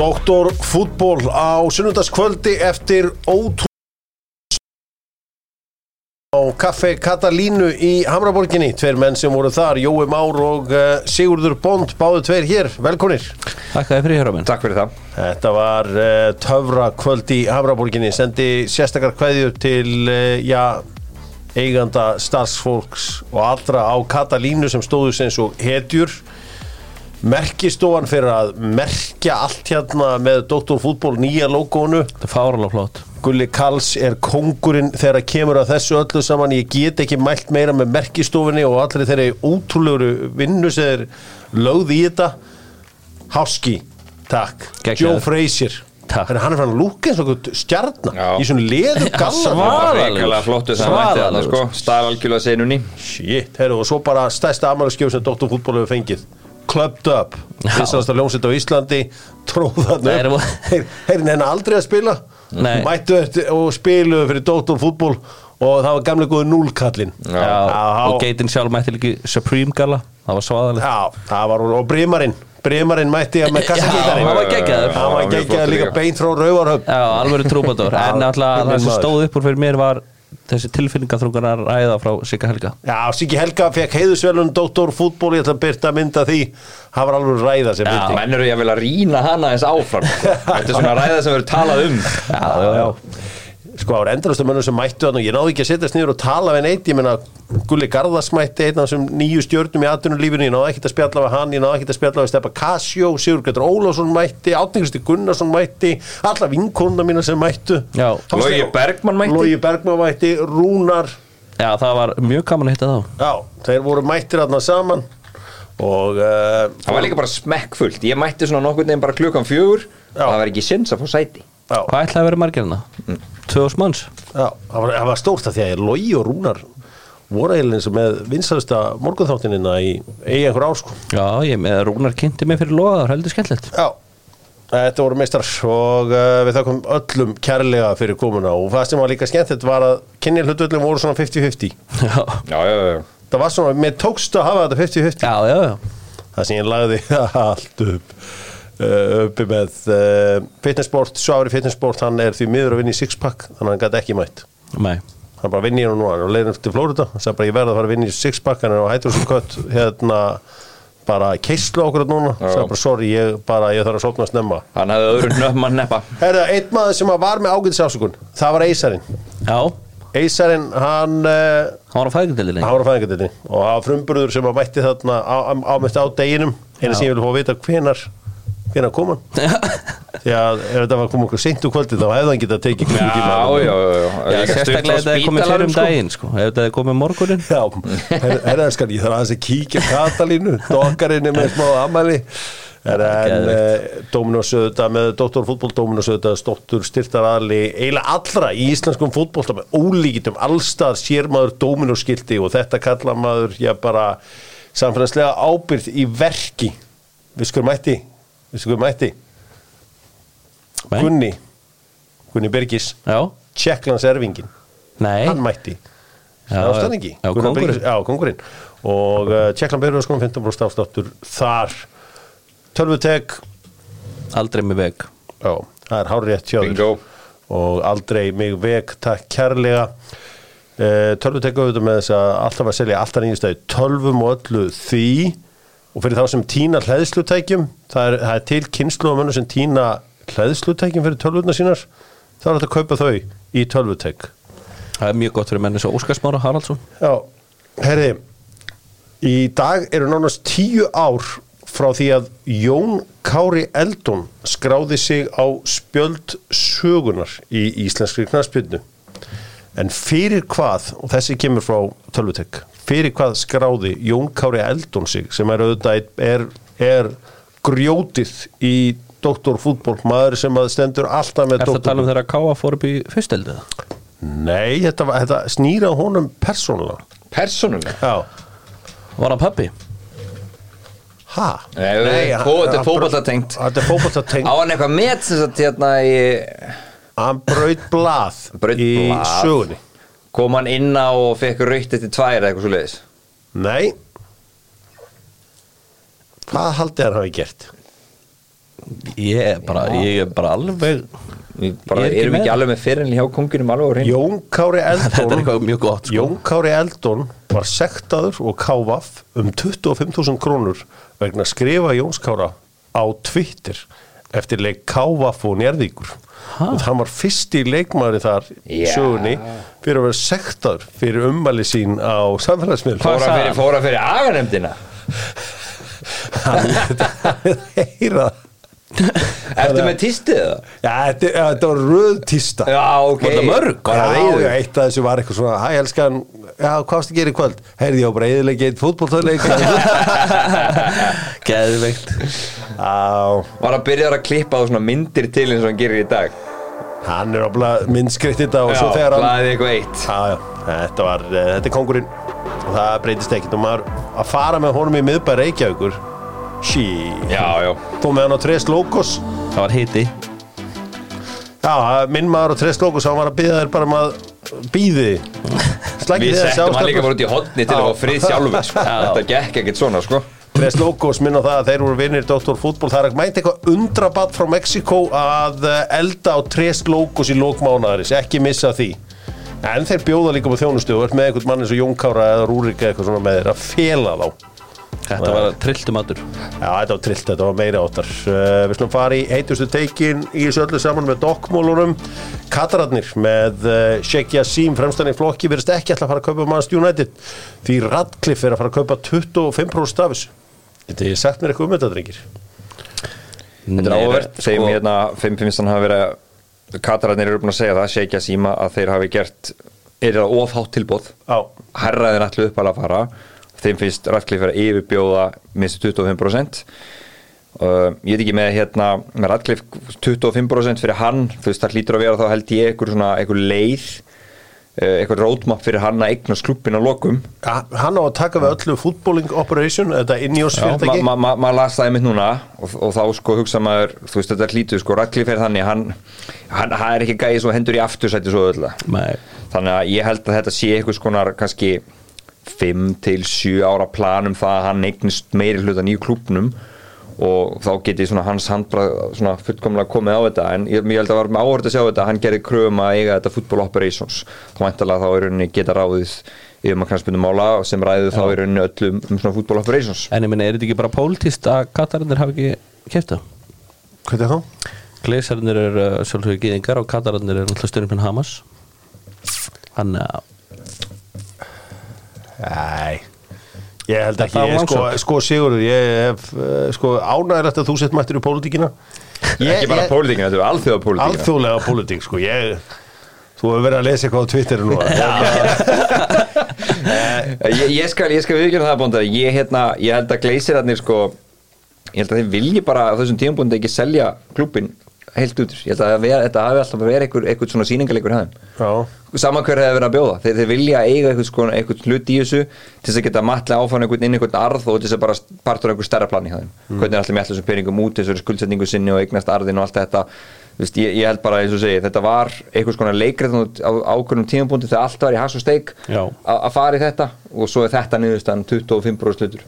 Outdoor fútból á sunnundaskvöldi eftir ótrú á Kaffe Katalínu í Hamraborginni. Tveir menn sem voru þar, Jói Már og eh, Sigurður Bond, báðu tveir hér. Velkonir. Takk að þið fyrir hér á minn Takk fyrir það Þetta var uh, töfra kvöld í Hamraborginni. Sendi sérstakar kveðju til, uh, já, eiganda starfsfólks og allra á Katalínu sem stóðu sem svo hetjur. Merkistofan fyrir að merkja allt hérna með Dr. Fútból nýja logonu. Þetta er fáralega flott Gulli Karls er kongurinn þegar að kemur að þessu öllu saman. Ég get ekki mælt meira með merkistofinni og allir þeirri ótrúlegu vinnu sem er lögð í þetta. Háski, takk. Gekkjaður. Joe Frazier. Takk. Þannig að hann er fann að lúka eins og einhver stjarnar Já. í svona leðu svara. gallar. Svaðalegur. Ríkala flottu sem hann mætti þarna Svaðalegur. sko Staf algjörlega senunni Shit, heyrðu, og svo bara stærsta amalaskjöf sem Dr. Fútból hefur fengið. Clubbed Up, vinsalasta ljónsitt á Íslandi, tróðan Þeir upp. voru- Heyr, heyrin henni aldrei að spila. Nei. Mættu eftir- og spiluðu fyrir Dr. Fútból og það var gamlega góðu núlkallinn. Já. Já, Já. Og geitin sjálf mætti líki Supreme gala Það var svaðalegt Já, það var hún og Brimarinn Brimarinn mætti að með Já, kassakitarinn hann var geggjaður. Hann var geggjað líka beint frá rauvarhöfn Já, alveg trúbador Já, En alltaf minn það sem maður. stóð upp úr fyrir mér var Þessi tilfinningaþrungan að ræða frá Sigga Helga Já, Siggi Helga fekk heiðusvelun Dóttor fútból, ég ætla að byrta mynda því Það var alveg ræða sem Já, byrti menn eru ég að vilja rýna hana eins áfram sko. Þetta er svona ræða sem verður talað um Já, já, já Sko, það var endalastu mönnum sem mættu þannig og ég náði ekki að setjast niður og tala við neitt ég meina, Gulli Garðas mætti einn af þessum nýju stjörnum í atvinnulífinu, ég náði ekkert að spjalla við hann ég náði ekkert að spjalla við Steppa Kassjó Sigurgættur Ólásson mætti, Átningristi Gunnarsson mætti alla vinkonuna mína sem mættu Já. Logi Bergmann mætti. Logi Bergmann mætti, Rúnar Já, það var mjög gaman að hitta þá Já, þeir voru mættir aðna saman og uh, Það var líka bara smekkfullt Ég mætti svona nokkur neginn bara klukkan fjögur Já. Það var ekki sinns að fá sæti já, Hvað ætlaði að vera margirna? Mm. 2000 manns? já, það var, það var stórt að því að Lói og Rúnar voru eiginlega eins og með vinsalasta morgunþáttinina í eigi einhver ár sko. Já, ég með Rúnar kynnti mig fyrir loðar, heldur skemmtilegt Já, þetta voru meistrar og uh, við þakkum öllum kærlega fyrir komuna og það sem var líka skemmt þetta var að kynni hlutullum voru svona 50-50 Já, Já, já, já það var svona, mér tókst að hafa þetta 50-50 já, já, já. það sem ég lagði allt upp uh, uppi með uh, fitnessport, Svári fitnessport hann er því miður að vinna í sixpack þannig að hann gæti ekki mætt Nei, hann bara vinni hérna nú, hann er á leiðin upp til Flórida hann sagði bara ég verði að fara að vinna í sixpack hann er á hættur sem kött hérna bara keislu okkur að núna Já. sagði bara sorry, ég, bara, ég þarf að sopna snemma Hann hafði öðru nöfnum að neppa Herða, einn maður sem var með ágætis ásökun það var Eysarinn já, hann Eysarinn, hann uh, var á fæðgjaldildinni hann var á fæðingadeildinni og það var frumburður sem að mætti þarna ámætt á deginum eina sem ég vil fá að vita hvenar hvenar kom hann því að ef þetta var komið okkur seint úr kvöldi þá hefði hann getað tekið Já, já, já, já. Já, Líka stutt á sérstaklega ef þetta er komið fyrir spítalanum, um sko. daginn sko. Ef þetta er komið morgunin Já, herra her, skan, ég þarf aðeins að kíkja á Katalínu, dokkarinni með smá amæli en, en eh, Dominos auðvitað með Dóttor fútból Dominos auðvitað stóttur styrtaraðli eiginlega allra í íslenskum fútbólta með ólíkitum allstað sér maður Dominos skilti og þetta kalla maður já bara samfélagslega ábyrð í verki við skur mætti, við skur mætti Nei. Gunni, Gunni Bergis Já, Tjekklands erfingin nei hann mætti Já, ástæðningi já, Gunnar kóngurinn. Birgis- já, kongurinn og uh, Tjekkland Byrjurskon 15% afsláttur þar tölvutek Aldrei með veg já, það er hárétt hjá þér. Bingo. og aldrei mig veg takk kærlega uh, tölvutek auðvitað með þess að alltaf að selja alltaf nýjastæði tölvum og öllu því og fyrir þá sem týna hlæðslutækjum það er, það er til kynslu og mönnum sem týna hlæðslutækjum fyrir tölvutna sínar þá er þetta að kaupa þau í tölvutek Það er mjög gott fyrir menn eins og Óskarsmára Haraldsson Já, herri Í dag eru nánast tíu ár frá því að Jón Kári Eldon skráði sig á spjöld sögunar í íslenskri knarspjöldu en fyrir hvað og þessi kemur frá tölvutek fyrir hvað skráði Jón Kári Eldon sig sem er auðvitað einn- er, er grjótið í doktorfútból, maður sem að stendur alltaf með Er það að doktor tala um þegar að Káa fór upp í fyrsteldu? Nei, þetta, var- þetta snýra honum persónulega Persónulega Já Var hann pappi? Hæ? Nei, nei, fó- þetta er fótboltatengt. Þetta er Á fótboltatengt hann eitthvað met sem sagt hérna í Hann braut blað Braut í blað. sögunni Kom hann inn á og fekk raukt eftir tvær eða eitthvað svo leiðis Nei Hvað haldið hann hafi gert? ég er bara, ég er bara alveg ég, bara ég er erum við með. ekki alveg með fyrirlin hjá kongunum alveg á hreinu? Jón Kári þetta er Eldon eitthvað mjög gott sko. Jón Kári Eldon var sektaður og kávaf um 25.000 krónur vegna skrifa Jóns Kára á Twitter eftir leik kávaf og njörðíkur og hann var fyrsti leikmaður þar í Já. sögunni fyrir að vera sektaður fyrir ummæli sín á samfélagsmiðlum fóra sagði fyrir, hann? fóra fyrir aganemdina heyra það Ertu með tístið það? Já, þetta, já, þetta var röð tísta Já, ok Var það mörg? Bara Já, reyður já, eitt af þessu var eitthvað svona Hæ, elskan, já, hvað varstu að gera í kvöld? Heyrði ég á breiðileg eitt fútboltöðleik geðveikt Já, Var að byrja að klippa á svona myndir til eins og hann gerir í dag hann er ofla minnskritt þetta og Já, svo þegar hann hlaðið eitthvað eitt Já, já, þetta var, eh, þetta er kongurinn og það breytist ekkert og maður að fara með honum í miðbæ Reykjavíkur sí, Já, já fór með hann á Tres Locos það var hiti Já, minn maður á Tres Locos hann var að byggja þér bara um að býði Við settum hann líka bara út í hotni til að Já. fá frið sjálfur sko. Já. Þetta gekk ekkert svona, sko Tres Locos minn á það að þeir voru vinir Dr. Fútbol, það er ekki mæti eitthvað undrabatt frá Mexiko að eh, elda á Tres Locos í lókmánaðaris ekki missa því en þeir bjóða líka með þjónustu og ert með einhvern mann eins og Jónkára eða Rúrik eða eitthvað svona með þeir að fela þá þetta var trilltumatur Já, þetta var trillt, þetta var meira áttar uh, Við slum fara í heitustu teikin í þessu öllu saman með dokkmólunum Katararnir með uh, Sheikh Yassim fremstann í flokki verðist ekki ætla að fara að kaupa Manchester United því Radcliffe er að fara að kaupa 25% stafis Þetta ég sagt mér eitthvað um þetta, drengir Þetta er sko. áverð, segjum hérna 5-5 hafa verið Katararnir eru búin að segja það, sé ekki að síma að þeir hafi gert er það ofhátt tilbóð Já, herraðin allir upp alveg að fara þeim finnst Radcliffe vera að yfirbjóða minnst 25% uh, ég veit ekki með hérna með Radcliffe 25% fyrir hann þú veist það hlýtur að vera þá held ég einhver svona einhver leið uh, einhver roadmap fyrir hann að eignast klubbin á lokum Ha- hann á að taka við öllu fútbóling operation, þetta Ineos maður fyrirtæki ma, ma, ma las það einmitt núna og, og þá sko hugsa maður þú veist þetta hlýtur sko Radcliffe er þannig hann, hann, hann er ekki gæði svo hendur í aftursæti svo öll þannig að ég held að þetta sé einhvers konar kannski 5 til 7 ára plan um það að hann eignist meiri hluta nýju klúbnum og þá geti svona hans handbrað svona fullkomlega komið á þetta en ég, ég held að var með áhverð að sjá þetta að hann gerði kröfum að eiga þetta football operations þá væntalega þá er rauninni geta ráðið yfir maður kannspunum mála sem ræðið þá er rauninni öllum um svona football operations en ég minna, er þetta ekki bara pólitist að katararnir hafi ekki kæft það Hvað er það? Gleisarnir eru uh, sjálfsögur gýðingar og Katararnir eru náttúrulega stundum Hamas hann uh, Nei Ég held ekki, Þetta var ég, sko, langsótt. sko Sigurður, ég hef, eh, sko ánægilegt að þú sett mættir í pólitíkina ekki bara pólitíkina, þetta er alþjóða pólitíkina alþjóðlega pólitík sko ég þú hefur verið að lesa eitthvað á Twitter nú Eh, ég, ég skal, ég skal viðkjörna það bóndar ég, hérna, ég held að gleysirarnir sko ég held að þeim vilji bara á þessum tíumbúndi ekki selja klúbin heilt út ég held að það vera- þetta hafi alltaf verið einhver, einhver svona sýningarleikur hjá þeim já, saman hver hefur verið að bjóða þeir, þeir vilja eiga einhvern, sko, einhvern hlut í þessu til þess að geta matlega áfæðan einhvern inn einhvern arð og til þess að bara partur einhver stærra plani hjá þeim hvernig er allir með allir þessum peningum út þessari skuldsetningu sinni og eignast arðin og allt þetta Vist, ég, ég held bara eins og segi þetta var einhvers konar leikrið á ákveðnum tímapunkti þegar allt var í has og steik Já. a- að fara í þetta og svo er þetta niðurstaðan 25% hlutur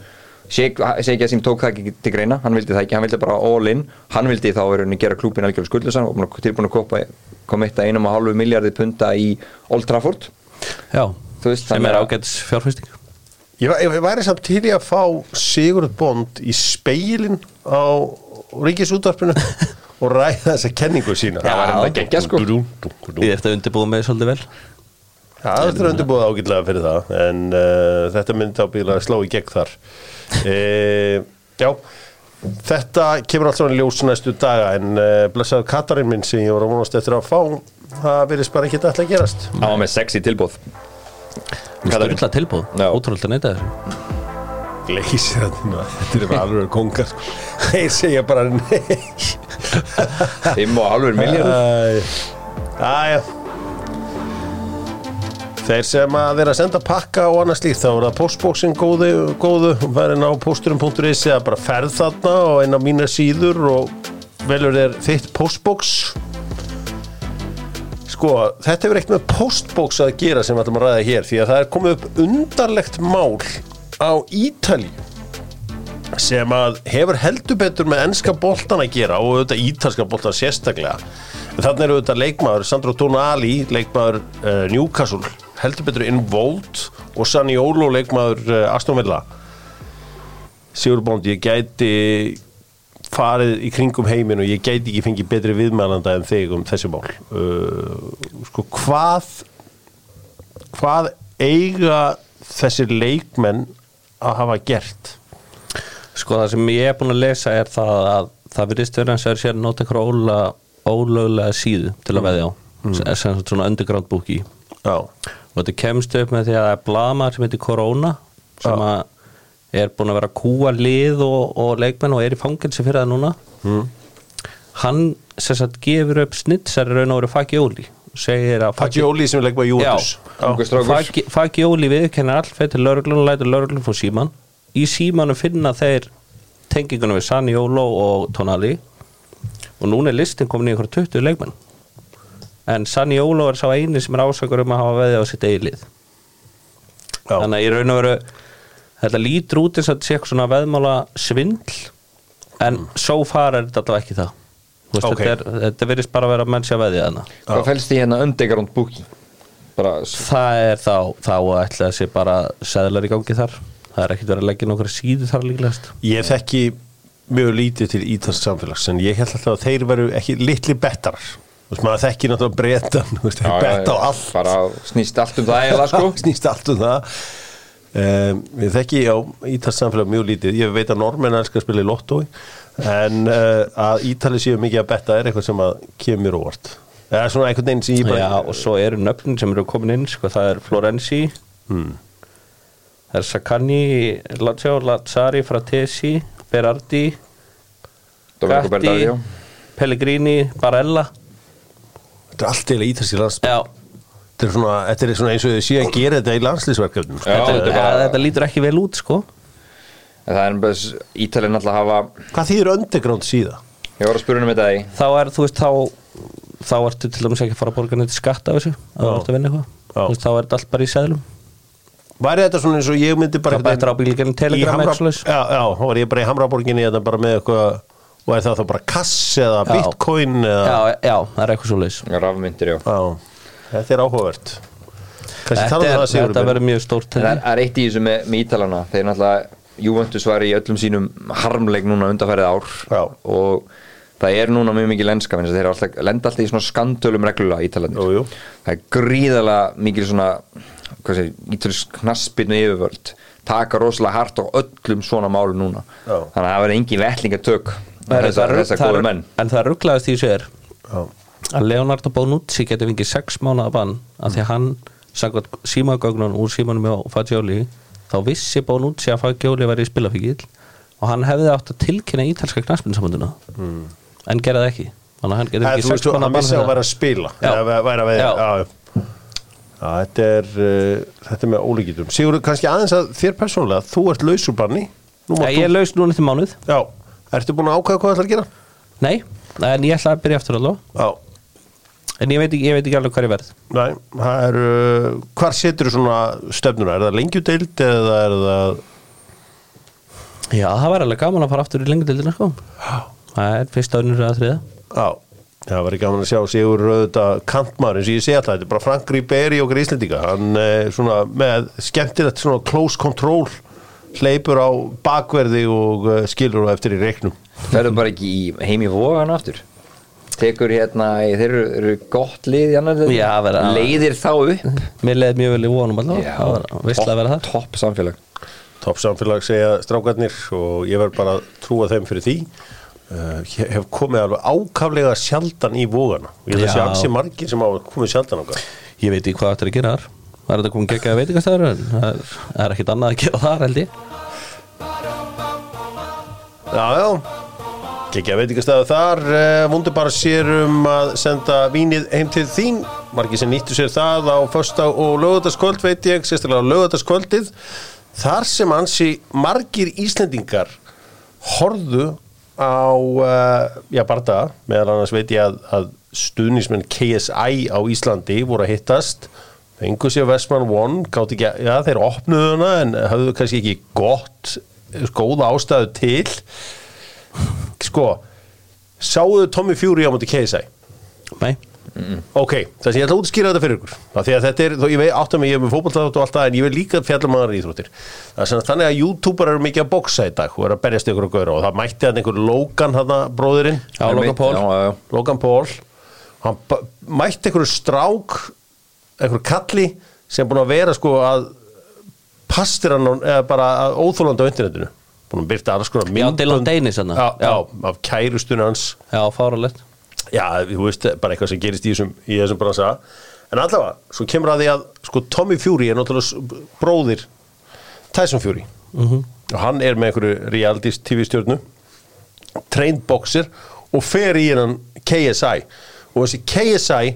Segja sem tók það ekki til greina hann vildi það ekki, hann vildi bara all in hann vildi þá er henni gera klúbin algjörlega skuldlösa og búinn að- tilbúin að kopa, koma eitt að einum og hálfu miljardi punta í Old Trafford já, Þú veist, sem þannig er að- ágætis fjárfæsting ég, væ- ég væri samt til í að fá Sigurður Bond í speilin á ríkisútvarpinu og ræða þessa kenningu sína Það var hann að gegja sko ég er þetta undirbúið með svolítið vel Það er undirbúið ágætlega fyrir það en uh, þetta myndi ábyggilega að slá í gegn þar e, Já Þetta kemur alltaf í ljós næstu daga en uh, blessaðu Katarinn minn sem ég voru að vonast eftir að fá það virðist bara ekki alltaf að gerast hann var með sexy tilbúð Katarinn. styrla tilbúð, Já. ótrúlega neyta þessu Gleysir þetta nú, þetta er bara alveg kongar sko. Þeir segja bara nei fimm og hálfur miljardi Æja Þeir sem að vera að senda pakka og annað slíkt þá er það postboxin góðu, góðu verðin á posturum.is eða bara ferð þarna og inn á mína síður og velur þér þitt postbox Sko, þetta hefur ekkert með postbox að gera sem við ætlum að ræða hér því að það er komið upp undarlegt mál á Ítalíu sem að hefur heldur betur með ennska boltan að gera og auðvitað ítalska boltan sérstaklega en þannig eru auðvitað leikmaður Sandro Tonali, leikmaður uh, Newcastle, heldur betur involved og Saniolo, leikmaður uh, Aston Villa Sigurbónd, ég gæti farið í kringum heimin og ég gæti ekki fengið betri viðmælanda en þig um þessi mál uh, sko hvað hvað eiga þessir leikmenn að hafa gert Sko það sem ég er búin að lesa er það að það virðist verið hans að sér nota einhverja óla, ólöglega síðu til að veðja á mm. sem sem svona underground búki já, og þetta kemst upp með því að það er blamaður sem heitir Corona sem að er búin að vera að kúa lið og, og leikmenn og er í fangelsi fyrir það núna hann sem sagt gefur upp snitsari raun og verið Fagioli segir að Fagioli sem er leikmaður Júnus Ungur strákur. Fagi- Fagioli viðkenna allfett til lörglun og lætur lörglun fór síman í símanu finna þeir tengingunum við Sani Óló og Tonali og núna er listin komin í einhverja 20 leikmenn en Sani Óló er sá eini sem er ásakur um að hafa veðið á sitt eigilið þannig að í raun og veru þetta lítur út eins og þetta sé eitthvað svona veðmála svindl en so far er þetta allavega ekki það Þú Veist, Ok. þetta, er, þetta verðist bara að vera menn sé að veðja þarna Hvað fælst því hérna underground booking? Bara, s- Það er þá, þá ætla að sé bara seðlar í gangi þar Það er ekkert verið að leggja nokkra síðu þar líklegast ég þekki mjög lítið til ítalsk samfélags en ég held alltaf að þeir veru ekki litli bettar þú veist maður þekki náttúrulega bretan þú veist, Já, þeir já, betta á já, allt Bara snýst allt um það eða sko snýst allt um það um, ég þekki á ítalsk samfélag mjög lítið ég veit að normenn elskar að spila í lottói en uh, að ítali séu mikið að betta er eitthvað sem að kemur óvart eða svona einhvern veginn sem ég bara Já, og svo eru nöfnin sem eru komin inn sko, Það er Florenzi Hmm. Það er Sakani Lazio, Lazzari, Fratesi Berardi, Domenico Bernardi Pellegrini Barella þetta er allt eða ítalski landsbyrg Já, þetta er svona, þetta er svona eins og þau séu að gera þetta í landslýsverkefnum Já, þetta, þetta er ja, bara- þetta lítur ekki vel út sko En það er bara s- Ítalinn alltaf hafa hvað þýðir underground síða? Ég var að spura um þetta í Þá er, þú veist, þá þá ertu til dæmis ekki að fara að borga neitt skatt af þessu að þú Já. ert að vinna eitthvað Já. Þú veist, þá er þetta allt bara í seðlum Væri þetta svona eins og ég myndi bara Það bættir á bílgjarnir Í Telegram Hamra- eitthvað svoleiðis. Já, já, þá var ég bara í Hamraborginni þetta bara með eitthvað og er það þá bara kass eða Já. bitcoin eða, já, já, það er eitthvað svo leis Rafmyndir, já já. þetta er áhugavert Kansi Þetta, talaðu er- það Sigurður þetta minn. verður mjög stórt En það er, það er eitt í þessu með, með Ítalana Þeir náttúrulega Juventus var í öllum sínum harmleik núna undanfærið ár Já. og það er núna mjög mikið lenska þeir eru alltaf, lenda alltaf í svona skandölum Jú, reglulega jú. Ítalandir það er gríðalega mikið svona hvað segir, ítalsk knaspinu yfirvöld taka rosalega hart á öllum svona málum núna Já. þannig að það verður engin vettlingatök Það er- það er- þessar það góðu er- menn En það rugglaðast í þessu er Já. að Leonardo Bonucci getur fengið sex mánuða bann af því að hann sagði símagögnun úr símanum hjá Fagioli þá vissi Bonucci að Fagioli væri í spilafíkil og hann hefði átt að tilkynna ítalska knaspinsambunduna mm. en gerði það ekki þannig að hann getur Eða, Hmm. fengið Þú veist, sex mánuða hann bann vissi að fyrir vera það. að spila Já. eða væri að veðja Já. já, já. Já, þetta er uh, þetta er með ólíkitum Sigurður, kannski aðeins að þér persónulega þú ert lausurbanni Nú mátt Nei, Ég þú- er laus núna eftir mánuð Já, ertu búin að ákvæða hvað það ætlar að gera? Nei, en ég ætla að byrja aftur allavega Já, En ég veit ekki, ég veit ekki alveg hvað ég verð Nei, það er uh, hvar setur svona stefnuna? Er það lengjudeild eða er það Já, það var alveg gaman að fara aftur í lengdeldina sko. Það er fyrsta önnur að þriða Já, það var gaman að sjá Sigur Röðuta kantmaður eins og ég segi alltaf þetta er bara Frank Ribéry okkar Íslendinga hann eh, svona með skemmtilegt svona close control hleypur á bakverði og eh, skilur á eftir í reiknum ferðu bara ekki í, heim í vogan aftur tekur hérna, þeir eru, eru gott lið í annar deild. Já, verða- leiðir þá upp Mér leiði mjög vel í vonum alltaf Já, Það var veistlega að vera þar topp samfélag Topp samfélag segja strákarnir og ég verð bara að trúa þeim fyrir því Uh, ég hef komið alveg ákaflega sjaldan í vógana og ég held að sé Já. ansi margir sem hafa komið sjaldan okkar Ég veit ekki hvað þetta er að gera þar Það er þetta komin geggjaði veitingastæður en það er, það er ekkit annað að gera þar held ég Já, já Kikja veitingastæðu þar eh, Vondur bara sér um að senda vínið heim til þín Margir sem nýttu sér það á fösta og lögutaskvöld veit ég Sérstaklega á lögutaskvöldið Þar sem ansi margir Íslendingar horfðu á uh, já, barða meðal annars veit ég að, að stuðnismenn KSI á Íslandi voru að hittast fengu sér Vestman One gátt ekki að, já, þeir opnuðu hana en hafðu kannski ekki gott góða ástæðu til sko sáuðu Tommy Fury á móti KSI Nei, ok, þess að ég ætla að útskýra þetta fyrir ykkur af því að þetta er, þó ég veit átt að mig ég er með fótballtátt og allt það en ég vil líka fjalla maður íþróttir það er sem sagt þannig að youtuber eru mikið að boksa í dag og eru að berjast ykkur og gauðra og það mætti hann einhver Logan hann bróðirinn Já, Logan Paul. Já, já, já. Logan Paul hann ba- mætti einhverju strák einhverju kalli sem búin að vera sko að pastir hann eða bara að óþólandi á internetinu búin að byrta alls konar Já, myndbönd- Dylan Danis hann. já, já, af kærustunni hans já, fáralegt já, þú veist, bara eitthvað sem gerist í þessum, í þessum bransa en allavega, svo kemur að því að sko Tommy Fury er náttúrulega s- bróðir Tyson Fury og hann er með einhverju reality TV stjórnu trained boxer og fer í hennan KSI og þessi KSI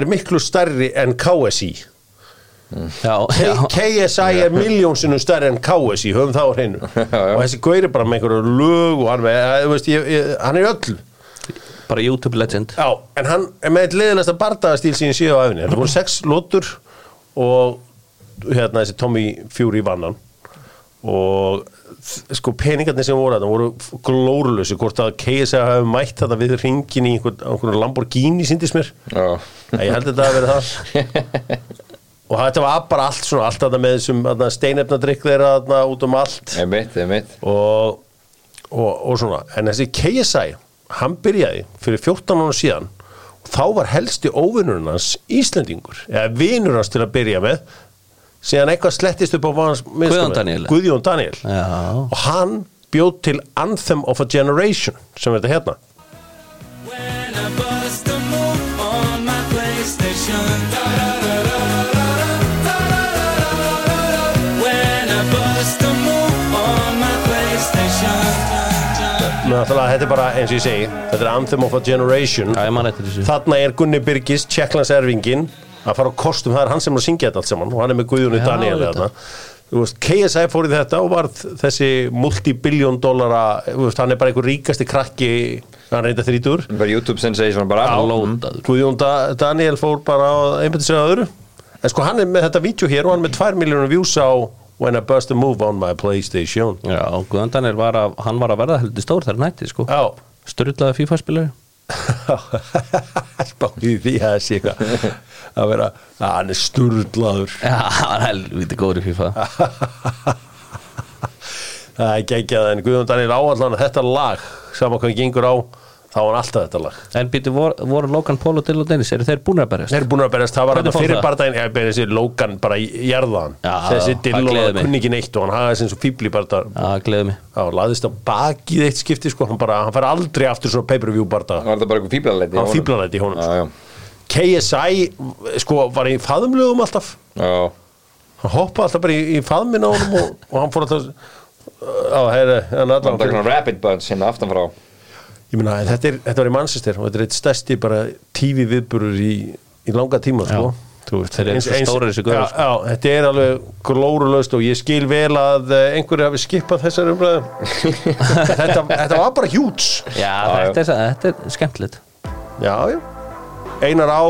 er miklu stærri en KSI Já, já, K- KSI er miljónsinu stærri en KSI höfum það á hreinu og þessi gaur er bara með einhverju lög og hann, með, þú veist, ég, ég, hann er í öllu bara YouTube legend Já, en hann er með eitt leiðilegsta bardagastíl sín síðu á æfinni. Þetta voru sex lótur og hérna þessi Tommy Fury vann hann og þ- sko peningarnir sem voru þarna voru f- glórulausu hvort að KSA hafi mætt þetta við ringin í einhvern, einhvern Lamborghini síndist mér Já. Nei, ég held að þetta að vera það og þetta var bara allt svona allt þetta með þessum þarna, steinefnadrykk þeirra þarna, út um allt Einmitt, einmitt og, og, og svona en þessi KSI, hann byrjaði fyrir 14 ára síðan og þá var helsti óvinnurinn hans Íslendingur eða vinur hans til að byrja með síðan eitthvað slettist upp á hans Guðjón Daníel. Guðjón Daniel Já. og hann bjóð til Anthem of a Generation sem er þetta hérna When I bust a move on my PlayStation. When I bust a move on my PlayStation. Ná, þannig að þetta er bara eins og ég segi þetta er Anthem of a Generation Já, ég man eftir þessu þarna er Gunni Byrgis, Tjekklands erfingin að fara á kostum, það er hann sem er að syngja þetta allt saman og hann er með Guðjónu Já, Daniel auðvitað. þarna. Þú veist, KSI fór í þetta og varð þessi multibillion dollara þú veist, hann er bara einhver ríkasti krakki hann reynda þrítur Bara YouTube sensation bara Lótaður Guðjón Da Daniel fór bara á einbætti sér að öðru en sko hann er með þetta vídeo hér og hann er með 2 miljónum views á When I Bust a Move on my Playstation Já, Guðan Daniel var að, hann var að verða heldur stór þegar nætti, sko Já Sturlaði FIFA-spilari Spáði því að það sé eitthvað að vera að hann er sturlaður Já, hann var helviti góður í FIFA Það er geggjað en Guðjón Daniel áallan að þetta lag saman hvað gengur á þá er hann alltaf þetta lag En býttu, vor, voru Logan Paul og Dylan Dennis, eru þeir búin að berjast? Þeir eru búin að berjast, það var Hvernig þetta fór fyrir það? bardaginn ég berið þessi Logan bara í jarðan Já, þessi það gleður Dillon mig. kunni ekki neitt og hann hagaði sem svo fíbl í bardag Já, gleðu mig Já, laðist á bakið eitt skipti sko, hann bara, hann fær aldrei aftur svona pay-per-view bardag Var þetta bara eitthvað fíblalæti? hann fíblalæti í honum Já, sko. já, KSI sko var í faðumlögum alltaf já hann hoppaði alltaf bara í, í faðminn á honum og, og hann fór alltaf uh, á, heyri, hann Það er allan, svona rapid bunch hérna aftan frá Ég meina, en þetta, er, þetta var í Manchester og þetta er eitt stærsti bara tífi viðburur í, í langa tíma, sko. Þú veist, Þeir eru svo stórir þessi já, gaurar, sko. já, þetta er alveg glórulaust og ég skil vel að eh, einhverju hafi skipað þessar umræðu. þetta, þetta var bara hjúts. Já, já. þetta, er, sa- þetta er skemmtilegt Já, já. Einar á,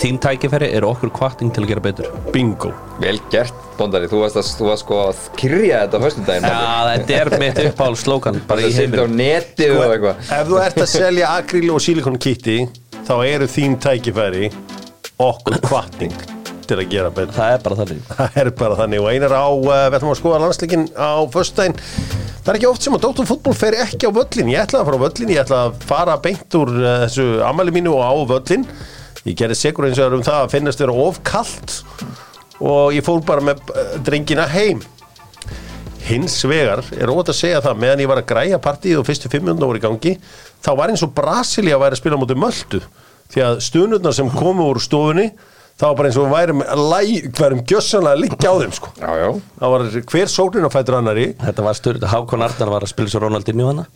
Þín tækifæri er okkur kvarting til að gera betur bingo. Vel gert, Bondari, þú varst, að, þú varst sko að kyrja þetta á föstudaginn Já, þetta er mitt uppáhald slókan bara í Það sýndi á heiminum Sko- neti og eitthvað Ef þú ert að selja akríl og sílikon kitti, þá eru þín tækifæri okkur kvartning til að gera betur. Það er bara þannig Það er bara þannig og einar á, uh, við ætlum að skoða landsleikin á föstudaginn. Það er ekki oft sem að Dóttur fútból fer ekki á völlin. Ég ætlaði að fara á völlin, ég ætlaði að fara beint úr uh, þessu amæli mínu og á völlin. Ég gerði segur eins og það um það að finnast vera of kalt og ég fór bara með uh, drengina heim. Hins vegar er óvægt að segja það meðan ég var að græja partíð og fyrstu fimmjönda voru í gangi þá var eins og Brasilia væri að spila á móti möldu því að stunurnar sem komu úr stofunni þá var bara eins og værum, læ, værum gjössanlega að liggja á þeim sko. Já, já það var hver sólinn á fætur annari Þetta var styrð, Hákon Arnar var að spila svo Ronaldinho hana